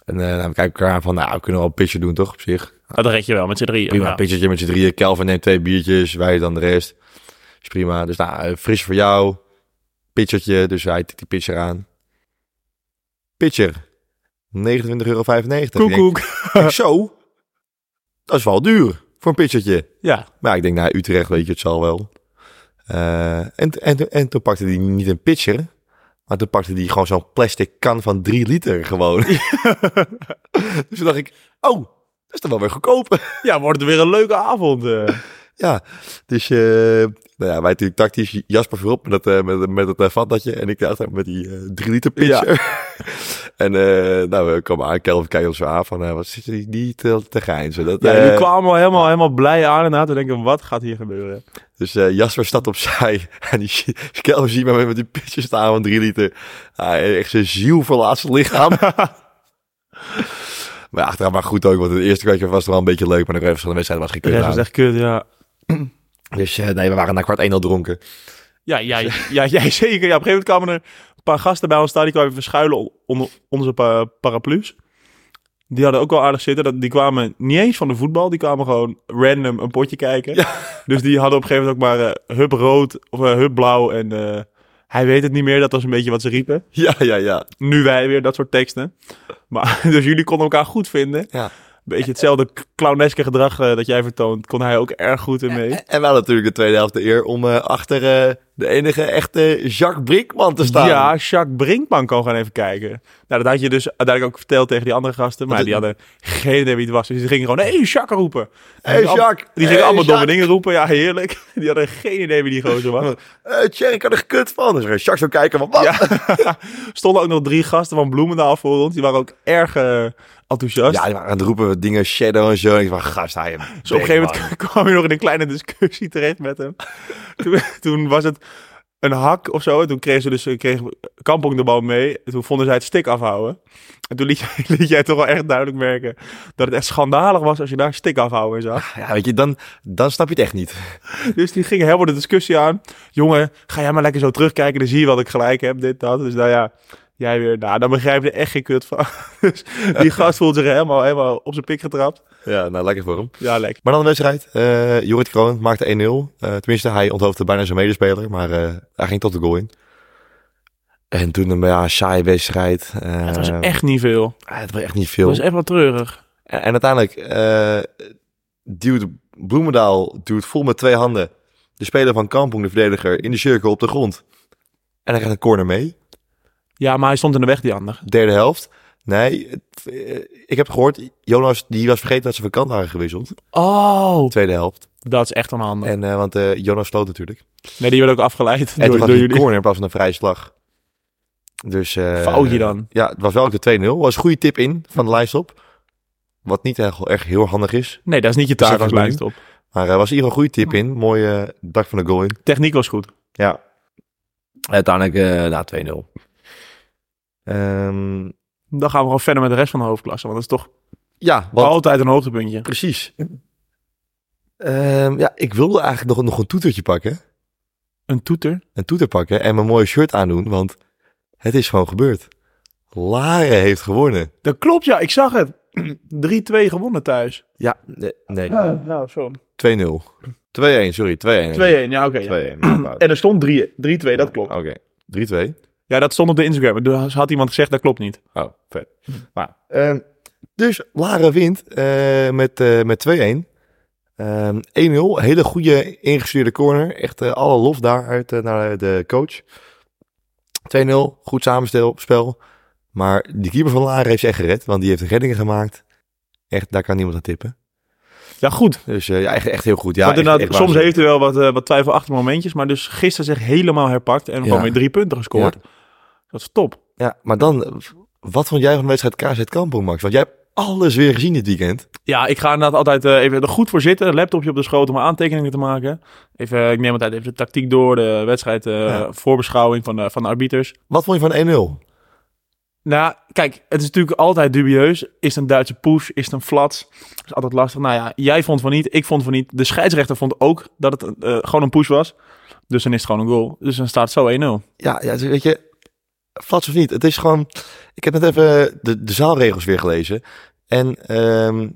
B: En eh, nou, we kijken elkaar aan van, nou, we kunnen wel een pitje doen, toch, op zich?
C: Dat Nou, red je wel met z'n drieën.
B: Prima,
C: Ja.
B: een pitchertje met z'n drieën. Kelvin neemt twee biertjes, wij dan de rest. Is prima. Dus nou, eh, fris voor jou. Pitchertje, dus hij tikt die pitcher aan. Pitcher, 29,95 euro.
C: Koek, koek.
B: Zo, dat is wel duur voor een pitchertje.
C: Ja,
B: Maar ik denk, naar Utrecht weet je het zal wel. Eh, en, en, en toen pakte hij niet een pitcher, maar toen pakte hij gewoon zo'n plastic kan van 3 liter
C: *laughs*
B: gewoon. *laughs* dus toen dacht ik, oh, dat is dan wel weer goedkoper.
C: ja wordt het weer een leuke avond. eh.
B: Ja, dus eh, nou ja, wij natuurlijk tactisch Jasper voorop met, dat, eh, met, met het eh, vatdatje en ik dacht met die eh, drie liter pitcher. *laughs* en eh, nou, we komen aan, Kelvin kijkt ons zo aan van, eh, wat zit er niet te, te geinzen. Dat,
C: Ja, die
B: eh,
C: kwamen al helemaal, helemaal blij aan en na te denken, wat gaat hier gebeuren?
B: Dus eh, Jasper staat opzij *laughs* en die zie- Kelvin ziet me met die pitcher staan van drie liter. Ah, echt zijn ziel verlaat zijn *laughs* lichaam. maar achteraf maar goed ook, want het eerste kwartje was het wel een beetje leuk, maar de rest van de wedstrijd was geen
C: De
B: kut
C: rest was
B: aan.
C: echt kut, ja.
B: Dus eh, nee, we waren na kwart één al dronken.
C: Ja, *laughs* jij, ja, jij zeker. Ja, op een gegeven moment kwamen er een paar gasten bij ons staan. Die kwamen verschuilen on- onder onze pa- paraplu's. Die hadden ook wel aardig zitten. Dat, die kwamen niet eens van de voetbal. Die kwamen gewoon random een potje *laughs* kijken. Dus die hadden op een gegeven moment ook maar eh, hup rood of eh, hup blauw. En eh, hij weet het niet meer. Dat was een beetje wat ze riepen.
B: Ja, ja, ja.
C: Nu wij weer, dat soort teksten. Maar, *laughs* dus jullie konden elkaar goed vinden.
B: Ja.
C: Beetje hetzelfde k- clowneske gedrag eh, dat jij vertoont, kon hij ook erg goed in mee.
B: En we hadden natuurlijk de tweede helft de eer om eh, achter eh, de enige echte Jacques Brinkman te staan.
C: Ja, Jacques Brinkman kon gaan even kijken. Nou, dat had je dus uiteindelijk ook verteld tegen die andere gasten. Maar
B: Want
C: die
B: het-
C: hadden geen idee wie het was. Dus die gingen gewoon, hé, hey, Jacques roepen.
B: Hé, hey, Jacques!
C: Die gingen
B: Hey,
C: allemaal domme
B: Jacques!
C: dingen roepen. Ja, heerlijk. *laughs* Die hadden geen idee wie die gozer
B: *laughs*
C: was.
B: Eh, Thierry kan er gekut van. Dus eh, Jacques zou kijken van, wat? Ja,
C: Ja. *laughs* Stonden ook nog drie gasten van Bloemendaal voor ons. Die waren ook erg eh, enthousiast.
B: die waren aan het roepen dingen, shadow en zo. En ik van, gast, hij hem.
C: dus op een gegeven moment *laughs* kwam je nog in een kleine discussie terecht
B: *laughs*
C: met hem. toen, toen was het een hak of zo. En toen kreeg, ze dus, kreeg Kampong de bal mee. En toen vonden zij het stik afhouden. En toen liet jij, *laughs* liet jij toch wel echt duidelijk merken dat het echt schandalig was als je daar stik afhouden in
B: *laughs*
C: zag.
B: Ja, weet je, dan, dan snap je het echt niet.
C: Dus die ging helemaal de discussie aan. Jongen, ga jij maar lekker zo terugkijken, dan zie je wat ik gelijk heb, dit, dat. Dus nou ja, jij weer, nou, dan begrijp je er echt geen kut van. *laughs* Dus die gast voelt zich helemaal, helemaal op zijn pik getrapt.
B: Ja, nou, lekker voor hem.
C: Ja, lekker.
B: Maar dan de wedstrijd. eh Jorrit Kroon maakte 1-0. Eh, tenminste, hij onthoofde bijna zijn medespeler, maar eh, hij ging tot de goal in. En toen een ja, saaie wedstrijd. Eh,
C: het was echt niet veel.
B: eh, het was echt niet
C: Het
B: veel.
C: was echt wel treurig.
B: En, en uiteindelijk eh duwt Bloemendaal duwt vol met twee handen de speler van Kampong, de verdediger, in de cirkel op de grond. En hij krijgt een corner mee.
C: Ja, maar hij stond in de weg, die ander.
B: Derde helft. Nee, het- eh, ik heb gehoord, Jonas die was vergeten dat ze van kant waren gewisseld.
C: Oh,
B: Tweede helft.
C: dat is echt onhandig.
B: En, eh, want eh, Jonas sloot natuurlijk.
C: Nee, die werd ook afgeleid
B: En
C: door,
B: toen was het
C: door
B: een
C: jullie.
B: corner in plaats van een vrije slag. Dus, eh,
C: Foutje dan.
B: Ja, het was wel ook de 2-0. was een goede tip in van de lijstop. Wat niet echt, erg heel handig is.
C: Nee, dat is niet je
B: Dus
C: taak
B: dat
C: als
B: was
C: lijst op.
B: Maar eh, er was hier een goede tip in. Mooie eh, dak van de goal in.
C: Techniek was goed.
B: Ja. Uiteindelijk eh na 2-0. Ehm,
C: Dan gaan we gewoon verder met de rest van de hoofdklasse. Want dat is toch
B: ja, wat,
C: altijd een hoogtepuntje.
B: precies. Ehm, ja, ik wilde eigenlijk nog, nog een toetertje pakken.
C: Een toeter.
B: Een toeter pakken en mijn mooie shirt aandoen. Want het is gewoon gebeurd. Laren heeft gewonnen.
C: Dat klopt, ja. Ik zag het. *clears throat* 3-2 gewonnen thuis.
B: Ja, nee. nee. 2-0.
C: nou, zo. 2-1,
B: 2-1, sorry. 2-1.
C: ja, oké. ja.
B: 2-1. mijn *clears throat* fout.
C: En er stond 3-2, dat klopt.
B: Oké. 3-2.
C: Ja, dat stond op de Instagram. En Toen had iemand gezegd, dat klopt niet.
B: Oh, vet. Maar, ehm, dus Laren wint eh, met, eh, met 2-1. Ehm 1-0, hele goede ingestuurde corner. Echt eh, alle lof daaruit eh, naar de coach. 2-0, goed samenstel- spel. Maar die keeper van Laren heeft ze echt gered, want die heeft reddingen gemaakt. Echt, daar kan niemand aan tippen.
C: Ja, goed.
B: Dus eh, ja, echt, echt heel goed. Ja,
C: Want
B: echt-
C: inderdaad,
B: echt
C: soms
B: waanzinnig.
C: heeft hij wel wat, eh, wat twijfelachtige momentjes. Maar dus gisteren zich helemaal herpakt. En gewoon
B: Ja.
C: weer drie punten gescoord. Dat is top.
B: Ja, maar dan, eh, wat vond jij van de wedstrijd KZ Kampong, Max? Want jij hebt alles weer gezien dit weekend.
C: Ja, ik ga inderdaad altijd eh, even er goed voor zitten. Een laptopje op de schoot om aantekeningen te maken. Even, eh, ik neem altijd even de tactiek door. De wedstrijd, eh,
B: Ja.
C: voorbeschouwing van de, van de arbiters.
B: Wat vond je van 1-0?
C: Nou, kijk, het is natuurlijk altijd dubieus. Is het een Duitse push? Is het een flats? Dat is altijd lastig. Nou ja, jij vond van niet. Ik vond van niet. De scheidsrechter vond ook dat het eh, gewoon een push was. Dus dan is het gewoon een goal. Dus dan staat het zo 1-0.
B: Ja, ja dus weet je, flats of niet. Het is gewoon, ik heb net even de, de zaalregels weer gelezen. En ehm,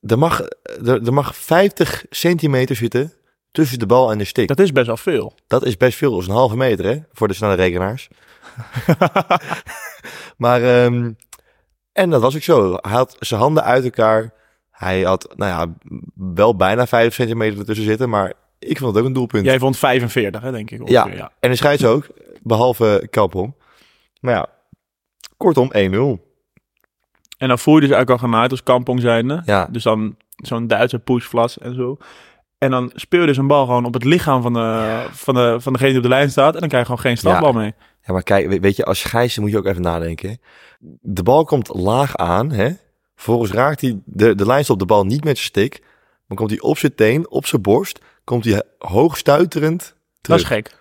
B: er, mag, er, er mag 50 centimeter zitten tussen de bal en de stick. Dat,
C: Dat is best wel veel.
B: is best veel, dat is een halve meter hè, voor de snelle rekenaars. maar, ehm, en dat was ook zo. Hij had zijn handen uit elkaar. Hij had, nou ja, wel bijna 5 centimeter ertussen zitten, maar ik vond het ook een doelpunt.
C: Jij vond 45, hè, denk ik. ongeveer, ja.
B: En de scheids ook, behalve Kampong. Maar ja, kortom 1-0.
C: En dan voel je dus eigenlijk al genaaid als kampong zijnde.
B: Ja.
C: Dus dan zo'n Duitse pushflas en zo. En dan speel je dus een bal gewoon op het lichaam van, de, van, de, van degene die op de lijn staat. En dan krijg je gewoon geen strafbal mee.
B: Ja, maar kijk, we- weet je, als scheids moet je ook even nadenken. hè. De bal komt laag aan, hè. Vervolgens raakt hij de, de lijn stopt de bal niet met zijn stick. Dan komt hij op zijn teen, op zijn borst, komt hij hoog stuiterend
C: Dat is
B: terug.
C: gek.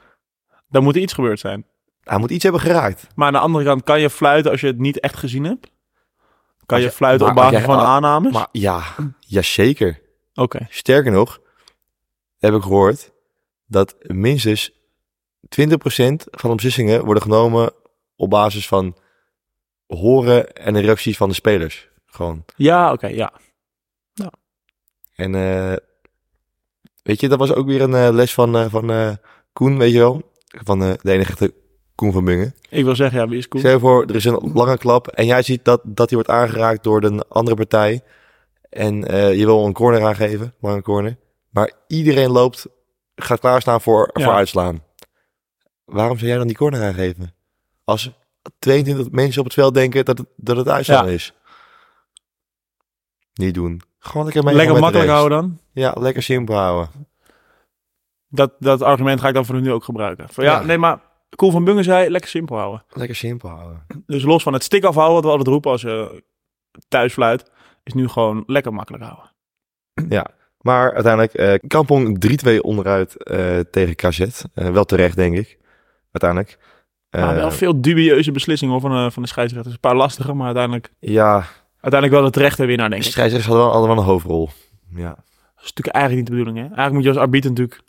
C: Dan moet er iets gebeurd zijn.
B: Hij moet iets hebben geraakt.
C: Maar aan de andere kant kan je fluiten als je het niet echt gezien hebt. Kan
B: Als
C: je
B: je-
C: fluiten op
B: maar als
C: basis
B: jij-
C: van aannames?
B: Maar ja, ja zeker.
C: Oké.
B: Sterker nog, heb ik gehoord dat minstens 20% van de beslissingen worden genomen op basis van horen en de reacties van de spelers. Gewoon.
C: Ja, oké, ja.
B: En eh, weet je, dat was ook weer een eh, les van, eh, van eh, Koen, weet je wel? Van eh, de enige echte Koen van Bungen.
C: Ik wil zeggen, ja, wie is cool?
B: Stel je voor, er is een lange klap en jij ziet dat, dat die wordt aangeraakt door een andere partij. En eh, je wil een corner aangeven, lange corner. Maar iedereen loopt, gaat klaarstaan voor,
C: Ja.
B: voor uitslaan. Waarom zou jij dan die corner aangeven? Als 22 mensen op het veld denken dat het, dat het uitslaan
C: Ja.
B: is. Niet doen. Gewoon lekker mee.
C: Lekker
B: met de
C: makkelijk
B: rest.
C: houden dan.
B: Ja, lekker simpel houden.
C: Dat, dat argument ga ik dan voor nu ook gebruiken. Van, ja,
B: Ja.
C: nee, maar Koen van Bungen zei, lekker simpel houden.
B: Lekker simpel houden.
C: Dus los van het stik afhouden, wat we altijd roepen als je thuis fluit, is nu gewoon lekker makkelijk houden.
B: Maar uiteindelijk, eh Kampong 3-2 onderuit eh, tegen KZ. Eh, wel terecht, denk ik. Uiteindelijk.
C: maar
B: Eh,
C: wel veel dubieuze beslissingen hoor, van, eh, van de scheidsrechters. Een paar lastige, maar uiteindelijk,
B: Ja,
C: uiteindelijk wel het rechte winnaar,
B: de
C: denk ik.
B: scheidsrechters hadden wel allemaal een hoofdrol. Ja,
C: Dat is natuurlijk eigenlijk niet de bedoeling. Hè? Eigenlijk moet je als arbiter natuurlijk,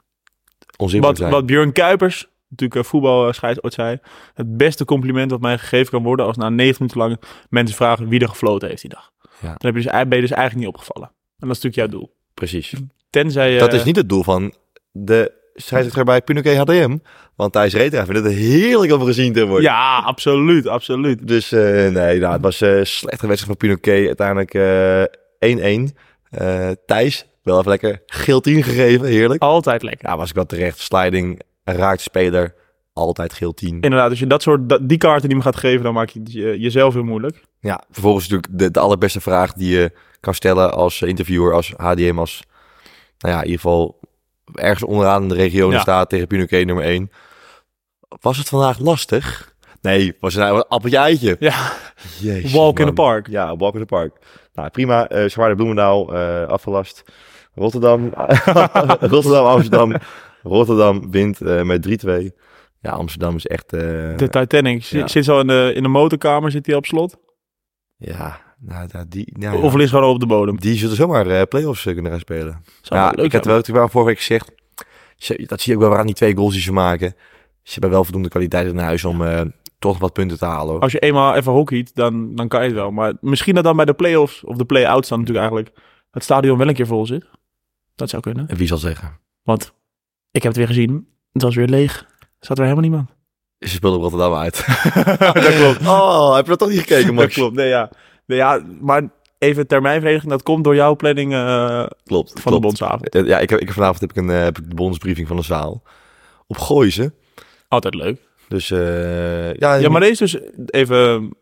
B: onzichtbaar
C: wat,
B: zijn.
C: wat Björn Kuipers, natuurlijk eh, voetbalscheids ooit zei, het beste compliment dat mij gegeven kan worden als na 90 minuten lang mensen vragen wie er gefloten heeft die dag.
B: Ja.
C: Dan heb je dus, ben je dus eigenlijk niet opgevallen. En dat is natuurlijk jouw doel.
B: Precies.
C: Tenzij eh, je...
B: Dat is niet het doel van de scheidsrechter bij Pinoké HDM. Want Thijs Reetra vindt het heerlijk om gezien te worden.
C: Ja, absoluut, absoluut.
B: Dus eh, nee, nou, het was een slechte wedstrijd van Pinoké. Uiteindelijk eh, 1-1. Eh, Thijs, wel even lekker geel 10 gegeven, heerlijk.
C: Altijd lekker.
B: Ja, was ik wel terecht. Sliding, raakt speler, altijd geel 10.
C: Inderdaad, als je dat soort, dat- die kaarten die me gaat geven, dan maak je het je- jezelf heel moeilijk.
B: Ja, vervolgens natuurlijk de, de allerbeste vraag die je kan stellen als eh, interviewer, als HDM, als, nou ja, in ieder geval ergens onderaan in de regionen
C: Ja.
B: staat tegen Pinoquet nummer 1. Was het vandaag lastig? Nee, was het nou een appeltje eitje?
C: Ja,
B: Jezus,
C: Walk in
B: man.
C: the park.
B: Ja, walk in the park. Nou, prima. eh Zwaarde Bloemendaal, eh, afgelast. Rotterdam, *laughs* Rotterdam, Amsterdam. Rotterdam wint eh, met 3-2. Ja, Amsterdam is echt... eh,
C: de Titanic zi-
B: Ja.
C: zit zo in de, in de motorkamer, zit die op slot.
B: ja, nou, nou, die... Nou, ja.
C: Of ligt gewoon op de bodem.
B: Die zullen zomaar eh, play-offs eh, kunnen gaan spelen.
C: Zou
B: ja,
C: wel leuk
B: ik had
C: zijn.
B: wel, ik wel vorige week gezegd, ze- dat zie je ook wel aan die twee goals die ze maken. Ze hebben wel voldoende kwaliteit in huis om eh, toch wat punten te halen. hoor.
C: Als je eenmaal even hockeyt, dan, dan kan je het wel. Maar misschien dat dan bij de play-offs, of de play-outs dan natuurlijk eigenlijk, het stadion wel een keer vol zit. Dat zou kunnen.
B: En Wie zal zeggen?
C: Want ik heb het weer gezien, het was weer leeg. Er zat weer helemaal niemand.
B: Ze speelden op Rotterdam uit. *laughs* dat klopt. Oh, heb je dat toch niet gekeken, Max?
C: Dat klopt, nee ja. Nee, ja maar even termijnverdediging, dat komt door jouw planning eh,
B: Klopt,
C: van de
B: klopt.
C: bondsavond.
B: Eh, Ja, ik heb, ik, heb- vanavond heb ik een eh, heb ik de bondsbriefing van de zaal. Op Gooise.
C: Altijd leuk.
B: Dus eh, ja,
C: Ja, maar deze is dus even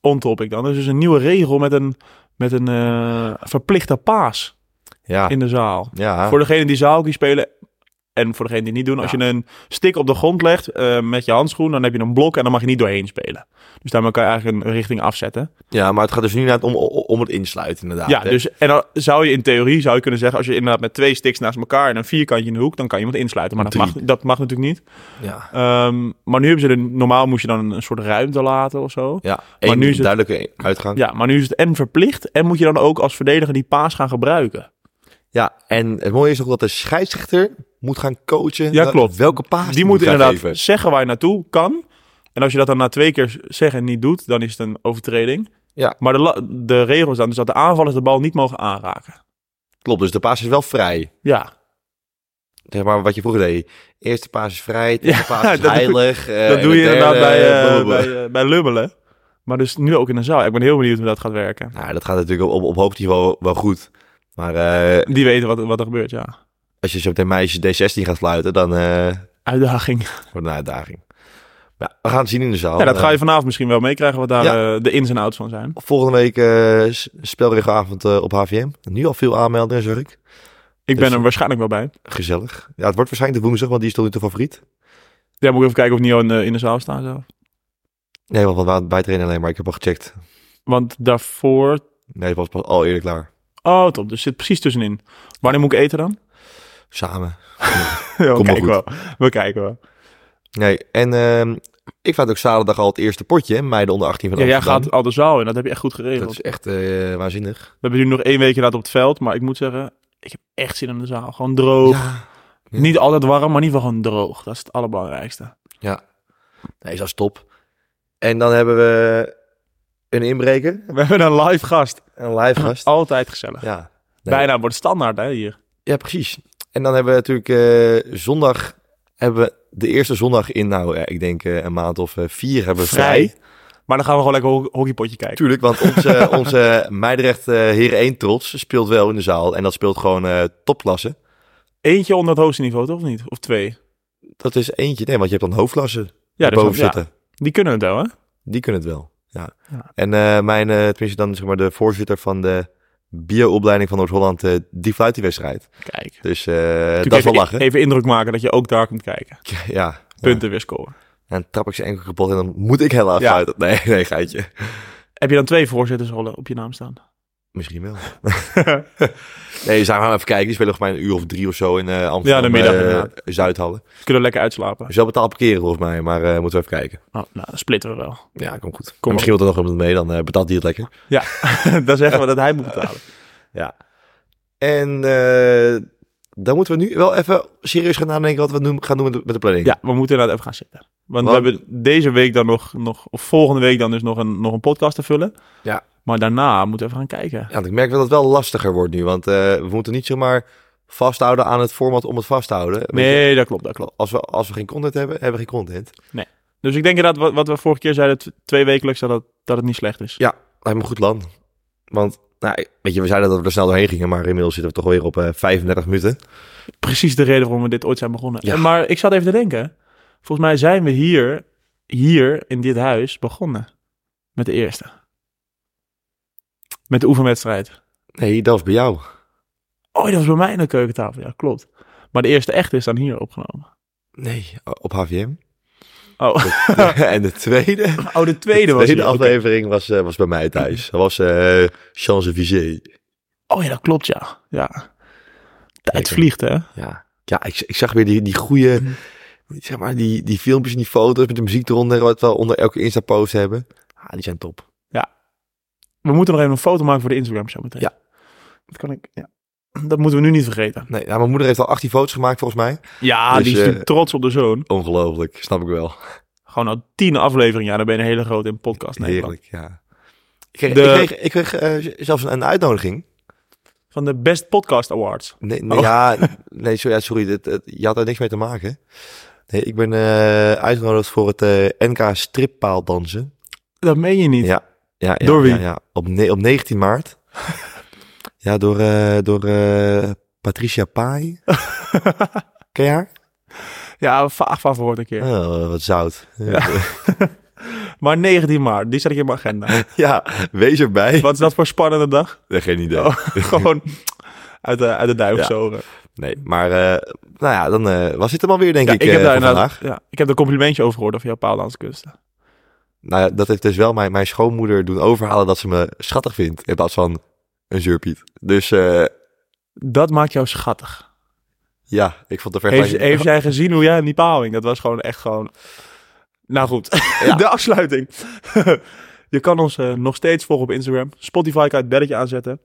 C: on-topic dan. Er is dus een nieuwe regel met een, met een eh, verplichte paas
B: ja,
C: in de zaal.
B: ja.
C: Voor degene die zaalhockey spelen en voor degene die niet doen. Als
B: Ja.
C: je een stick op de grond legt eh, met je handschoen, dan heb je een blok en dan mag je niet doorheen spelen. Dus daarmee kan je eigenlijk een richting afzetten.
B: ja, maar het gaat dus nu net om, om het insluiten inderdaad.
C: Ja,
B: hè?
C: dus en dan zou je in theorie zou je kunnen zeggen, als je inderdaad met twee sticks naast elkaar en een vierkantje in de hoek, dan kan iemand insluiten. Maar dat
B: Drie.
C: mag, dat mag natuurlijk niet.
B: Ja,
C: Ehm, maar nu hebben ze er, normaal moest je dan een soort ruimte laten of zo.
B: ja. Eén
C: nu is het-
B: duidelijke uitgang.
C: Ja, maar nu is het en verplicht en moet je dan ook als verdediger die paas gaan gebruiken.
B: Ja, en het mooie is nog dat de scheidsrechter moet gaan coachen.
C: Ja,
B: wel-
C: klopt.
B: Welke paas
C: Die moet
B: gaan
C: inderdaad
B: geven.
C: zeggen waar je naartoe kan. En als je dat dan na twee keer zeggen en niet doet, dan is het een overtreding.
B: Ja.
C: Maar de, la- de regels dan dus dat de aanvallers de bal niet mogen aanraken.
B: Klopt, dus de paas is wel vrij.
C: Ja,
B: Zeg maar wat je vroeger deed. Eerste paas is vrij, tweede
C: Ja, *laughs*
B: paas is
C: dat doe-
B: heilig. eh,
C: dat
B: en
C: doe
B: de
C: je inderdaad
B: derde,
C: bij, eh,
B: blablabla.
C: bij, eh, bij lummelen. Maar dus nu ook in een zaal. Ik ben heel benieuwd hoe dat gaat werken.
B: Nou, dat gaat natuurlijk op, op hoog niveau wel goed. Maar eh,
C: Die weten wat, wat er gebeurt, ja.
B: als je zo meteen meisjes D16 gaat fluiten, dan eh,
C: Uitdaging.
B: wordt het een uitdaging. Ja, we gaan het zien in de zaal.
C: ja, dat ga
B: Eh,
C: je vanavond misschien wel meekrijgen, wat daar eh, de ins en outs van zijn.
B: Volgende week eh, s- spelregelavond eh, op HVM. Nu al veel aanmeldingen, zeg ik.
C: Ik
B: Dus-
C: ben er waarschijnlijk wel bij.
B: Gezellig. Ja, het wordt waarschijnlijk de woensdag, want die is tot nu toe favoriet.
C: Ja, moet ik even kijken of Nio in, de- in de zaal staat zelf.
B: Nee, want we waren bij het trainen alleen, maar ik heb al gecheckt.
C: Want daarvoor
B: Nee, het was pas al eerder klaar.
C: Oh, top. Dus zit precies tussenin. Wanneer moet ik eten dan?
B: Samen.
C: *laughs* Ja, we
B: Kom maar
C: kijken wel. We kijken wel.
B: Nee, en ehm, ik vaat ook zaterdag al het eerste potje, hè, meiden onder 18 van
C: Ja, jij
B: Amsterdam.
C: gaat al de zaal in. Dat heb je echt goed geregeld.
B: Dat is echt eh, waanzinnig.
C: We hebben nu nog één weekje later op het veld. Maar ik moet zeggen, ik heb echt zin in de zaal. Gewoon droog.
B: Ja. ja.
C: Niet altijd warm, maar in ieder geval gewoon droog. Dat is het allerbelangrijkste.
B: Nee, dat is top. En dan hebben we een inbreker,
C: We hebben een live gast.
B: een
C: *clears throat*
B: live gast.
C: Altijd gezellig.
B: Ja. Nee.
C: Bijna wordt standaard hè, hier.
B: ja, precies. En dan hebben we natuurlijk eh, zondag, hebben we de eerste zondag in, nou, ja, ik denk eh, een maand of eh, vier hebben we vrij.
C: Maar dan gaan we gewoon lekker ho- hockeypotje kijken.
B: Tuurlijk, want
C: *laughs*
B: onze, onze Meidrecht eh Heren 1 trots speelt wel in de zaal. En dat speelt gewoon eh, topklasse.
C: Eentje onder het hoogste niveau, toch of niet? Of twee?
B: Dat is eentje. Nee, want je hebt dan hoofdklasse
C: Ja, dus
B: boven
C: dat- ja,
B: zitten.
C: die kunnen het wel, hè?
B: Die kunnen het wel. Ja.
C: Ja.
B: En eh, mijn, eh, tenminste dan zeg maar de voorzitter van de bio-opleiding van Noord-Holland, eh, die fluit die wedstrijd.
C: Kijk.
B: Dus eh, dat is
C: Natuurlijk e-
B: wel
C: even,
B: lachen.
C: even indruk maken dat je ook daar kunt kijken.
B: Ja.
C: Punten weer scoren.
B: En dan trap ik zijn enkel kapot en dan moet ik heel
C: Ja.
B: fluiten. Nee, *laughs* nee, geitje.
C: Heb je dan twee voorzittersrollen op je naam staan?
B: Misschien
C: *laughs*
B: wel. nee, we gaan even kijken. Die spelen nog maar een uur of drie of zo in eh Amsterdam.
C: Ja, de middag
B: eh,
C: inderdaad.
B: Zuidhallen.
C: We kunnen lekker uitslapen.
B: Dus wel betaald parkeren volgens mij, maar eh, moeten we even kijken.
C: Oh, nou, dan splitten we
B: *laughs*
C: wel.
B: Ja, komt goed.
C: op.
B: Kom misschien wil er nog iemand mee, dan eh, betaalt hij het lekker.
C: Ja, dan zeggen we dat hij moet
B: *laughs*
C: betalen.
B: En eh, dan moeten we nu wel even serieus gaan nadenken wat we doen, gaan doen met de, met de planning.
C: Ja, we moeten inderdaad even gaan zitten. Want
B: Want-
C: we hebben deze week dan nog, nog of volgende week dan dus nog een, nog een podcast te vullen.
B: Ja.
C: Maar daarna moeten we even gaan kijken.
B: Ja, want ik merk wel dat het wel lastiger wordt nu, want eh, we moeten niet zomaar vasthouden aan het format om het vasthouden. Weet je,
C: Nee, dat klopt, dat klopt.
B: Als we, als we geen content hebben, hebben we geen content.
C: Dus ik denk inderdaad, wat, wat we vorige keer zeiden, t- twee wekelijks, dat, het- dat het niet slecht is.
B: Lijkt me een goed land. Want, nou, weet je, we zeiden dat we er snel doorheen gingen, maar inmiddels zitten we toch weer op eh, 35 minuten.
C: Precies de reden waarom we dit ooit zijn begonnen.
B: Ja.
C: En Maar ik zat even te denken. Volgens mij zijn we hier, hier in dit huis, begonnen. Met de eerste. Met de oefenwedstrijd.
B: Nee, dat was bij jou.
C: Oh, dat was bij mij in de keukentafel. Ja, klopt. Maar de eerste echte is dan hier opgenomen.
B: Nee, op *laughs* HVM.
C: Oh,
B: en de tweede, de
C: *laughs* oh de tweede was
B: tweede
C: hier. Oké.
B: aflevering was, eh, was bij mij thuis. Dat was eh Champs-Élysées.
C: Oh ja, dat klopt, ja. ja. Tijd
B: Zeker.
C: vliegt, hè?
B: Ja, Mm. ja ik, ik zag weer die, die goede, zeg maar, die, die filmpjes en die foto's met de muziek eronder, wat we onder elke Insta-post hebben. Ah, die zijn top.
C: We moeten nog even een foto maken voor de Instagram zo meteen.
B: Ja.
C: Dat kan ik, ja. Dat moeten we nu niet vergeten.
B: Nee, nou, mijn moeder heeft al 18 foto's gemaakt volgens mij.
C: Ja,
B: Dus,
C: die is
B: eh,
C: natuurlijk trots op de zoon.
B: Ongelooflijk, snap ik wel.
C: Gewoon al tien afleveringen. Ja, dan ben je een hele grote in podcast. Nederland.
B: Heerlijk, ja. Ik kreeg,
C: De-
B: ik kreeg, ik kreeg eh, zelfs een, een uitnodiging.
C: Van de Best Podcast Awards.
B: Nee, nee
C: Oh.
B: ja, *laughs* nee, sorry, ja, sorry dit, het- je had daar niks mee te maken. Nee, ik ben eh, uitgenodigd voor het eh, NK strippaaldansen.
C: Dat meen je niet.
B: Ja, ja, ja,
C: Door wie?
B: Ja, ja. Op, ne- op 19 *laughs* maart. ja, door, eh, door eh, Patricia *laughs* Pai. Ken je haar?
C: Ja, vaag van gehoord een keer.
B: Oh, wat zout. Ja. *laughs*
C: Maar 19 maart, die zet ik in mijn *laughs* agenda.
B: wees erbij.
C: Wat is dat voor spannende *laughs* dag?
B: Nee, Geen idee.
C: Oh, gewoon uit de, uit de duif
B: Ja.
C: zogen.
B: Nee, maar eh, nou ja, dan eh, was het hem alweer, denk
C: Ja,
B: ik,
C: ik, heb
B: eh,
C: daar
B: voor
C: inderdaad-
B: vandaag.
C: ja, ik heb er een complimentje over gehoord over jouw paaldanskunsten.
B: Nou, ja, dat heeft dus wel mijn, mijn schoonmoeder doen overhalen dat ze me schattig vindt. In plaats van een zeurpiet. Dus eh,
C: Dat maakt jou schattig.
B: ja, ik vond de
C: Heeft,
B: vergelijking...
C: heeft jij gezien hoe jij in die paal hing? Dat was gewoon echt gewoon... Nou goed, *laughs* de afsluiting. Je kan ons eh, nog steeds volgen op Instagram. Spotify kan het belletje aanzetten.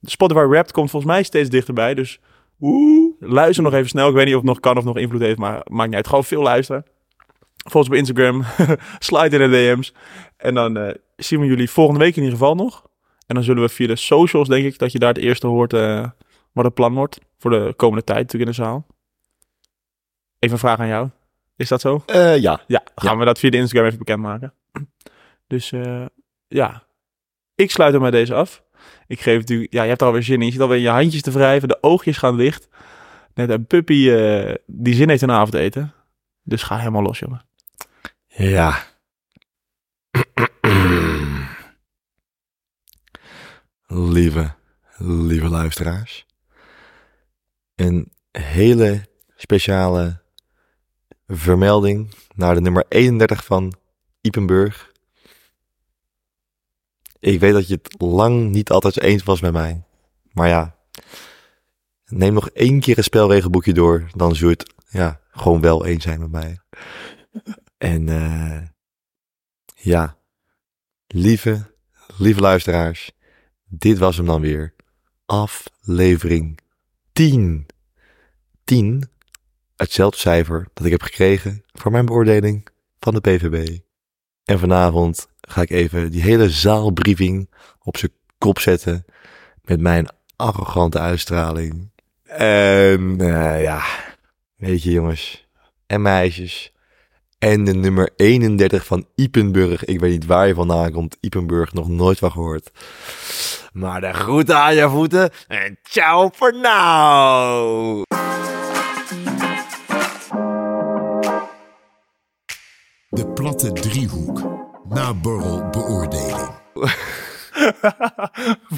C: De Spotify Wrapped komt volgens mij steeds dichterbij. Dus oeh, luister nog even snel. Ik weet niet of het nog kan of nog invloed heeft, maar maakt niet uit. Gewoon veel luisteren. Volgens op Instagram. *laughs* Slide in de DM's. En dan eh, zien we jullie volgende week in ieder geval nog. En dan zullen we via de socials, denk ik, dat je daar het eerste hoort eh, wat het plan wordt. Voor de komende tijd natuurlijk in de zaal. Even een vraag aan jou. Is dat zo?
B: Eh, ja,
C: Ja, gaan we dat via de Instagram even bekendmaken. Dus eh, ja, ik sluit hem met deze af. Ik geef natuurlijk, ja, je hebt er alweer zin in. Je zit alweer je handjes te wrijven, de oogjes gaan dicht. Net een puppy eh, die zin heeft in avondeten. Dus ga helemaal los, jongen.
B: Ja. Lieve, lieve luisteraars. Een hele speciale vermelding naar de nummer 31 van Ipenburg. Ik weet dat je het lang niet altijd eens was met mij. Maar ja, neem nog één keer een spelregelboekje door. Dan zul je het ja, gewoon wel eens zijn met mij. En eh, ja, lieve, lieve luisteraars, dit was hem dan weer. Aflevering 10. 10, hetzelfde cijfer dat ik heb gekregen voor mijn beoordeling van de PVB. En vanavond ga ik even die hele zaalbriefing op zijn kop zetten met mijn arrogante uitstraling. En eh, ja, weet je jongens en meisjes... En de nummer 31 van Ipenburg. Ik weet niet waar je vandaan komt. Ipenburg, nog nooit van gehoord. Maar de groeten aan je voeten. En ciao voor nou.
A: De platte driehoek. Naborrel beoordeling.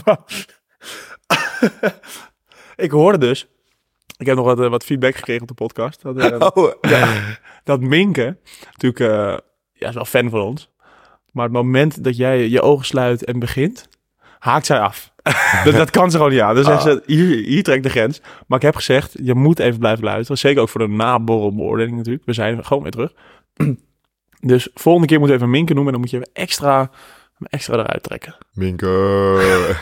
C: *laughs* ik hoorde dus, ik heb nog wat, eh, wat feedback gekregen op de podcast. Dat, *laughs* eh,
B: Oh.
C: dat Minke, natuurlijk, eh, ja, is wel fan van ons. Maar het moment dat jij je ogen sluit en begint, haakt zij af. *laughs* dat, dat kan ze gewoon niet aan. Dus zegt ze, hier, hier trekt de grens. Maar ik heb gezegd, je moet even blijven luisteren. Zeker ook voor de naborrelbeoordeling natuurlijk. We zijn gewoon weer terug. *clears throat* dus volgende keer moeten we even Minke noemen. En dan moet je even extra, extra eruit trekken.
B: Minke.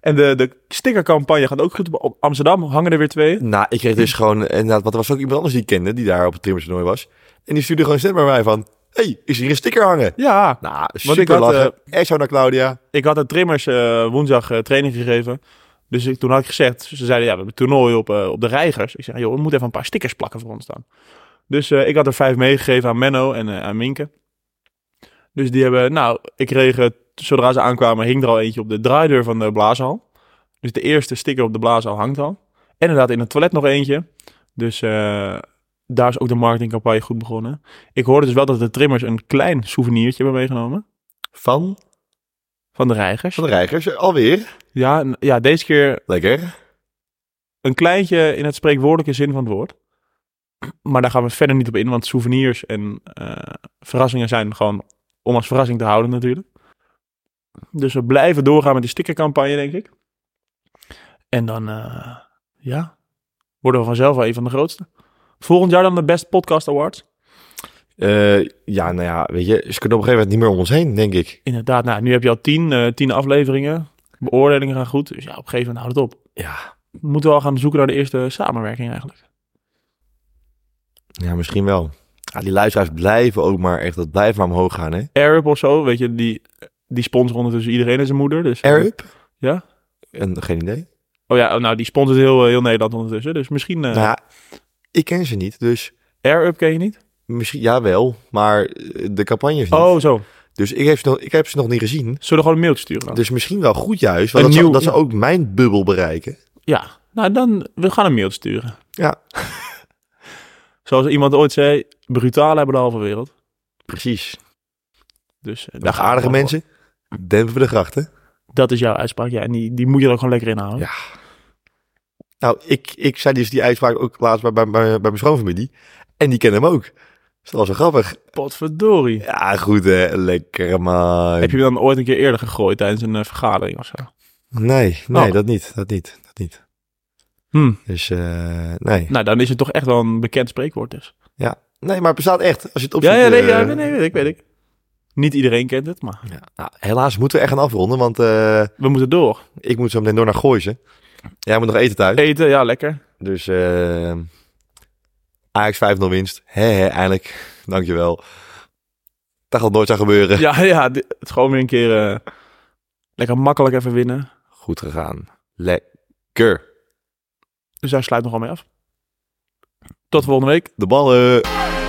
C: En de, de stickercampagne gaat ook goed. Op- Op Amsterdam hangen er weer twee.
B: nou, ik kreeg dus gewoon... Inderdaad, want er was ook iemand anders die ik kende. Die daar op het trimmerstoernooi was. En die stuurde gewoon een stem bij mij van... hey, is hier een sticker hangen?
C: Ja,
B: Nou,
C: ik
B: super
C: had,
B: eh, lachen. Echt zo naar Claudia.
C: ik had de trimmers eh, woensdag eh, training gegeven. Dus ik, toen had ik gezegd, ze zeiden ja, we hebben een toernooi op, eh, op de Reigers. Ik zei, joh, we moeten even een paar stickers plakken voor ons dan. Dus eh, ik had er vijf meegegeven aan Menno en eh, aan Minke. Dus die hebben, nou, ik kreeg, eh, zodra ze aankwamen, hing er al eentje op de draaideur van de blaashal. Dus de eerste sticker op de blaashal hangt al. En inderdaad in het toilet nog eentje. Dus eh, daar is ook de marketingcampagne goed begonnen. Ik hoorde dus wel dat de trimmers een klein souvenirtje hebben meegenomen.
B: Van,
C: Van de reigers.
B: van de reigers, alweer.
C: Ja, en- ja, deze keer
B: Lekker.
C: een kleintje in het spreekwoordelijke zin van het woord. Maar daar gaan we verder niet op in, want souvenirs en eh, verrassingen zijn gewoon om als verrassing te houden natuurlijk. Dus we blijven doorgaan met die stickercampagne, denk ik. En dan, eh, ja, worden we vanzelf wel een van de grootste. Volgend jaar dan de Best Podcast Awards.
B: Eh, ja, nou ja, weet je, ze kunnen op een gegeven moment niet meer om ons heen, denk ik.
C: Inderdaad, nou, nu heb je al tien, eh, tien afleveringen. Beoordelingen gaan goed, dus ja, op een gegeven moment houdt het op.
B: Ja.
C: Moeten we al gaan zoeken naar de eerste samenwerking eigenlijk.
B: Ja, misschien wel. Ja, die luisteraars blijven ook maar echt, dat blijft maar omhoog gaan, hè.
C: Arab of zo, weet je, die, die sponsor ondertussen iedereen en zijn moeder. Dus,
B: Arab?
C: Ja.
B: En, geen idee.
C: Oh ja, nou, die sponsort heel, eh, heel Nederland ondertussen. Dus misschien... eh
B: Nou ja, ik ken ze niet, dus
C: Arab ken je niet?
B: misschien, jawel, maar eh, de campagne is niet.
C: Oh, zo.
B: Dus ik heb, ze nog, ik heb ze nog niet gezien.
C: Zullen we gewoon een mailtje sturen dan?
B: Dus misschien wel goed juist,
C: Een
B: want dat, ze-
C: nieuw-
B: dat ze ook mijn bubbel bereiken.
C: Ja, nou dan, we gaan een mailtje sturen.
B: Ja.
C: *laughs* Zoals iemand ooit zei, brutalen hebben de halve wereld.
B: Precies.
C: Dus eh, daar
B: Dag
C: gaan we
B: aardige
C: gewoon
B: mensen. Dempen we de grachten.
C: voor. Dat is jouw uitspraak, ja. En die, die moet je er ook gewoon lekker inhouden.
B: Ja. Nou, ik, ik zei dus die uitspraak ook laatst bij, bij, bij, bij mijn schoonfamilie. En die kennen hem ook. Dus dat was wel grappig.
C: Potverdorie.
B: Ja, goed hè. Lekker man.
C: Heb je hem dan ooit een keer eerder gegooid tijdens een eh, vergadering of zo?
B: Nee, nee,
C: Oh.
B: dat niet. Dat niet. Dat niet.
C: Hm.
B: Dus eh, nee.
C: Nou, dan is het toch echt wel een bekend spreekwoord dus.
B: Nee, maar het bestaat echt. Als je het opzoekt.
C: Ja, ja, nee,
B: eh,
C: ja, nee, nee, weet ik, weet ik. Niet iedereen kent het, maar
B: ja. Nou, helaas moeten we echt gaan afronden, want eh,
C: we moeten door.
B: ik moet zo meteen door naar Gooisen. Jij moet nog eten thuis.
C: Eten, ja, *laughs* lekker.
B: Dus eh Ajax 5-0 winst. Hé, hé, eindelijk. Dankjewel. Dat gaat nooit zou gebeuren.
C: Ja, ja, di- het is gewoon weer een keer eh, lekker makkelijk even winnen.
B: Goed gegaan. Lekker.
C: Dus daar sluit nogal mee af. Tot volgende week.
B: De ballen.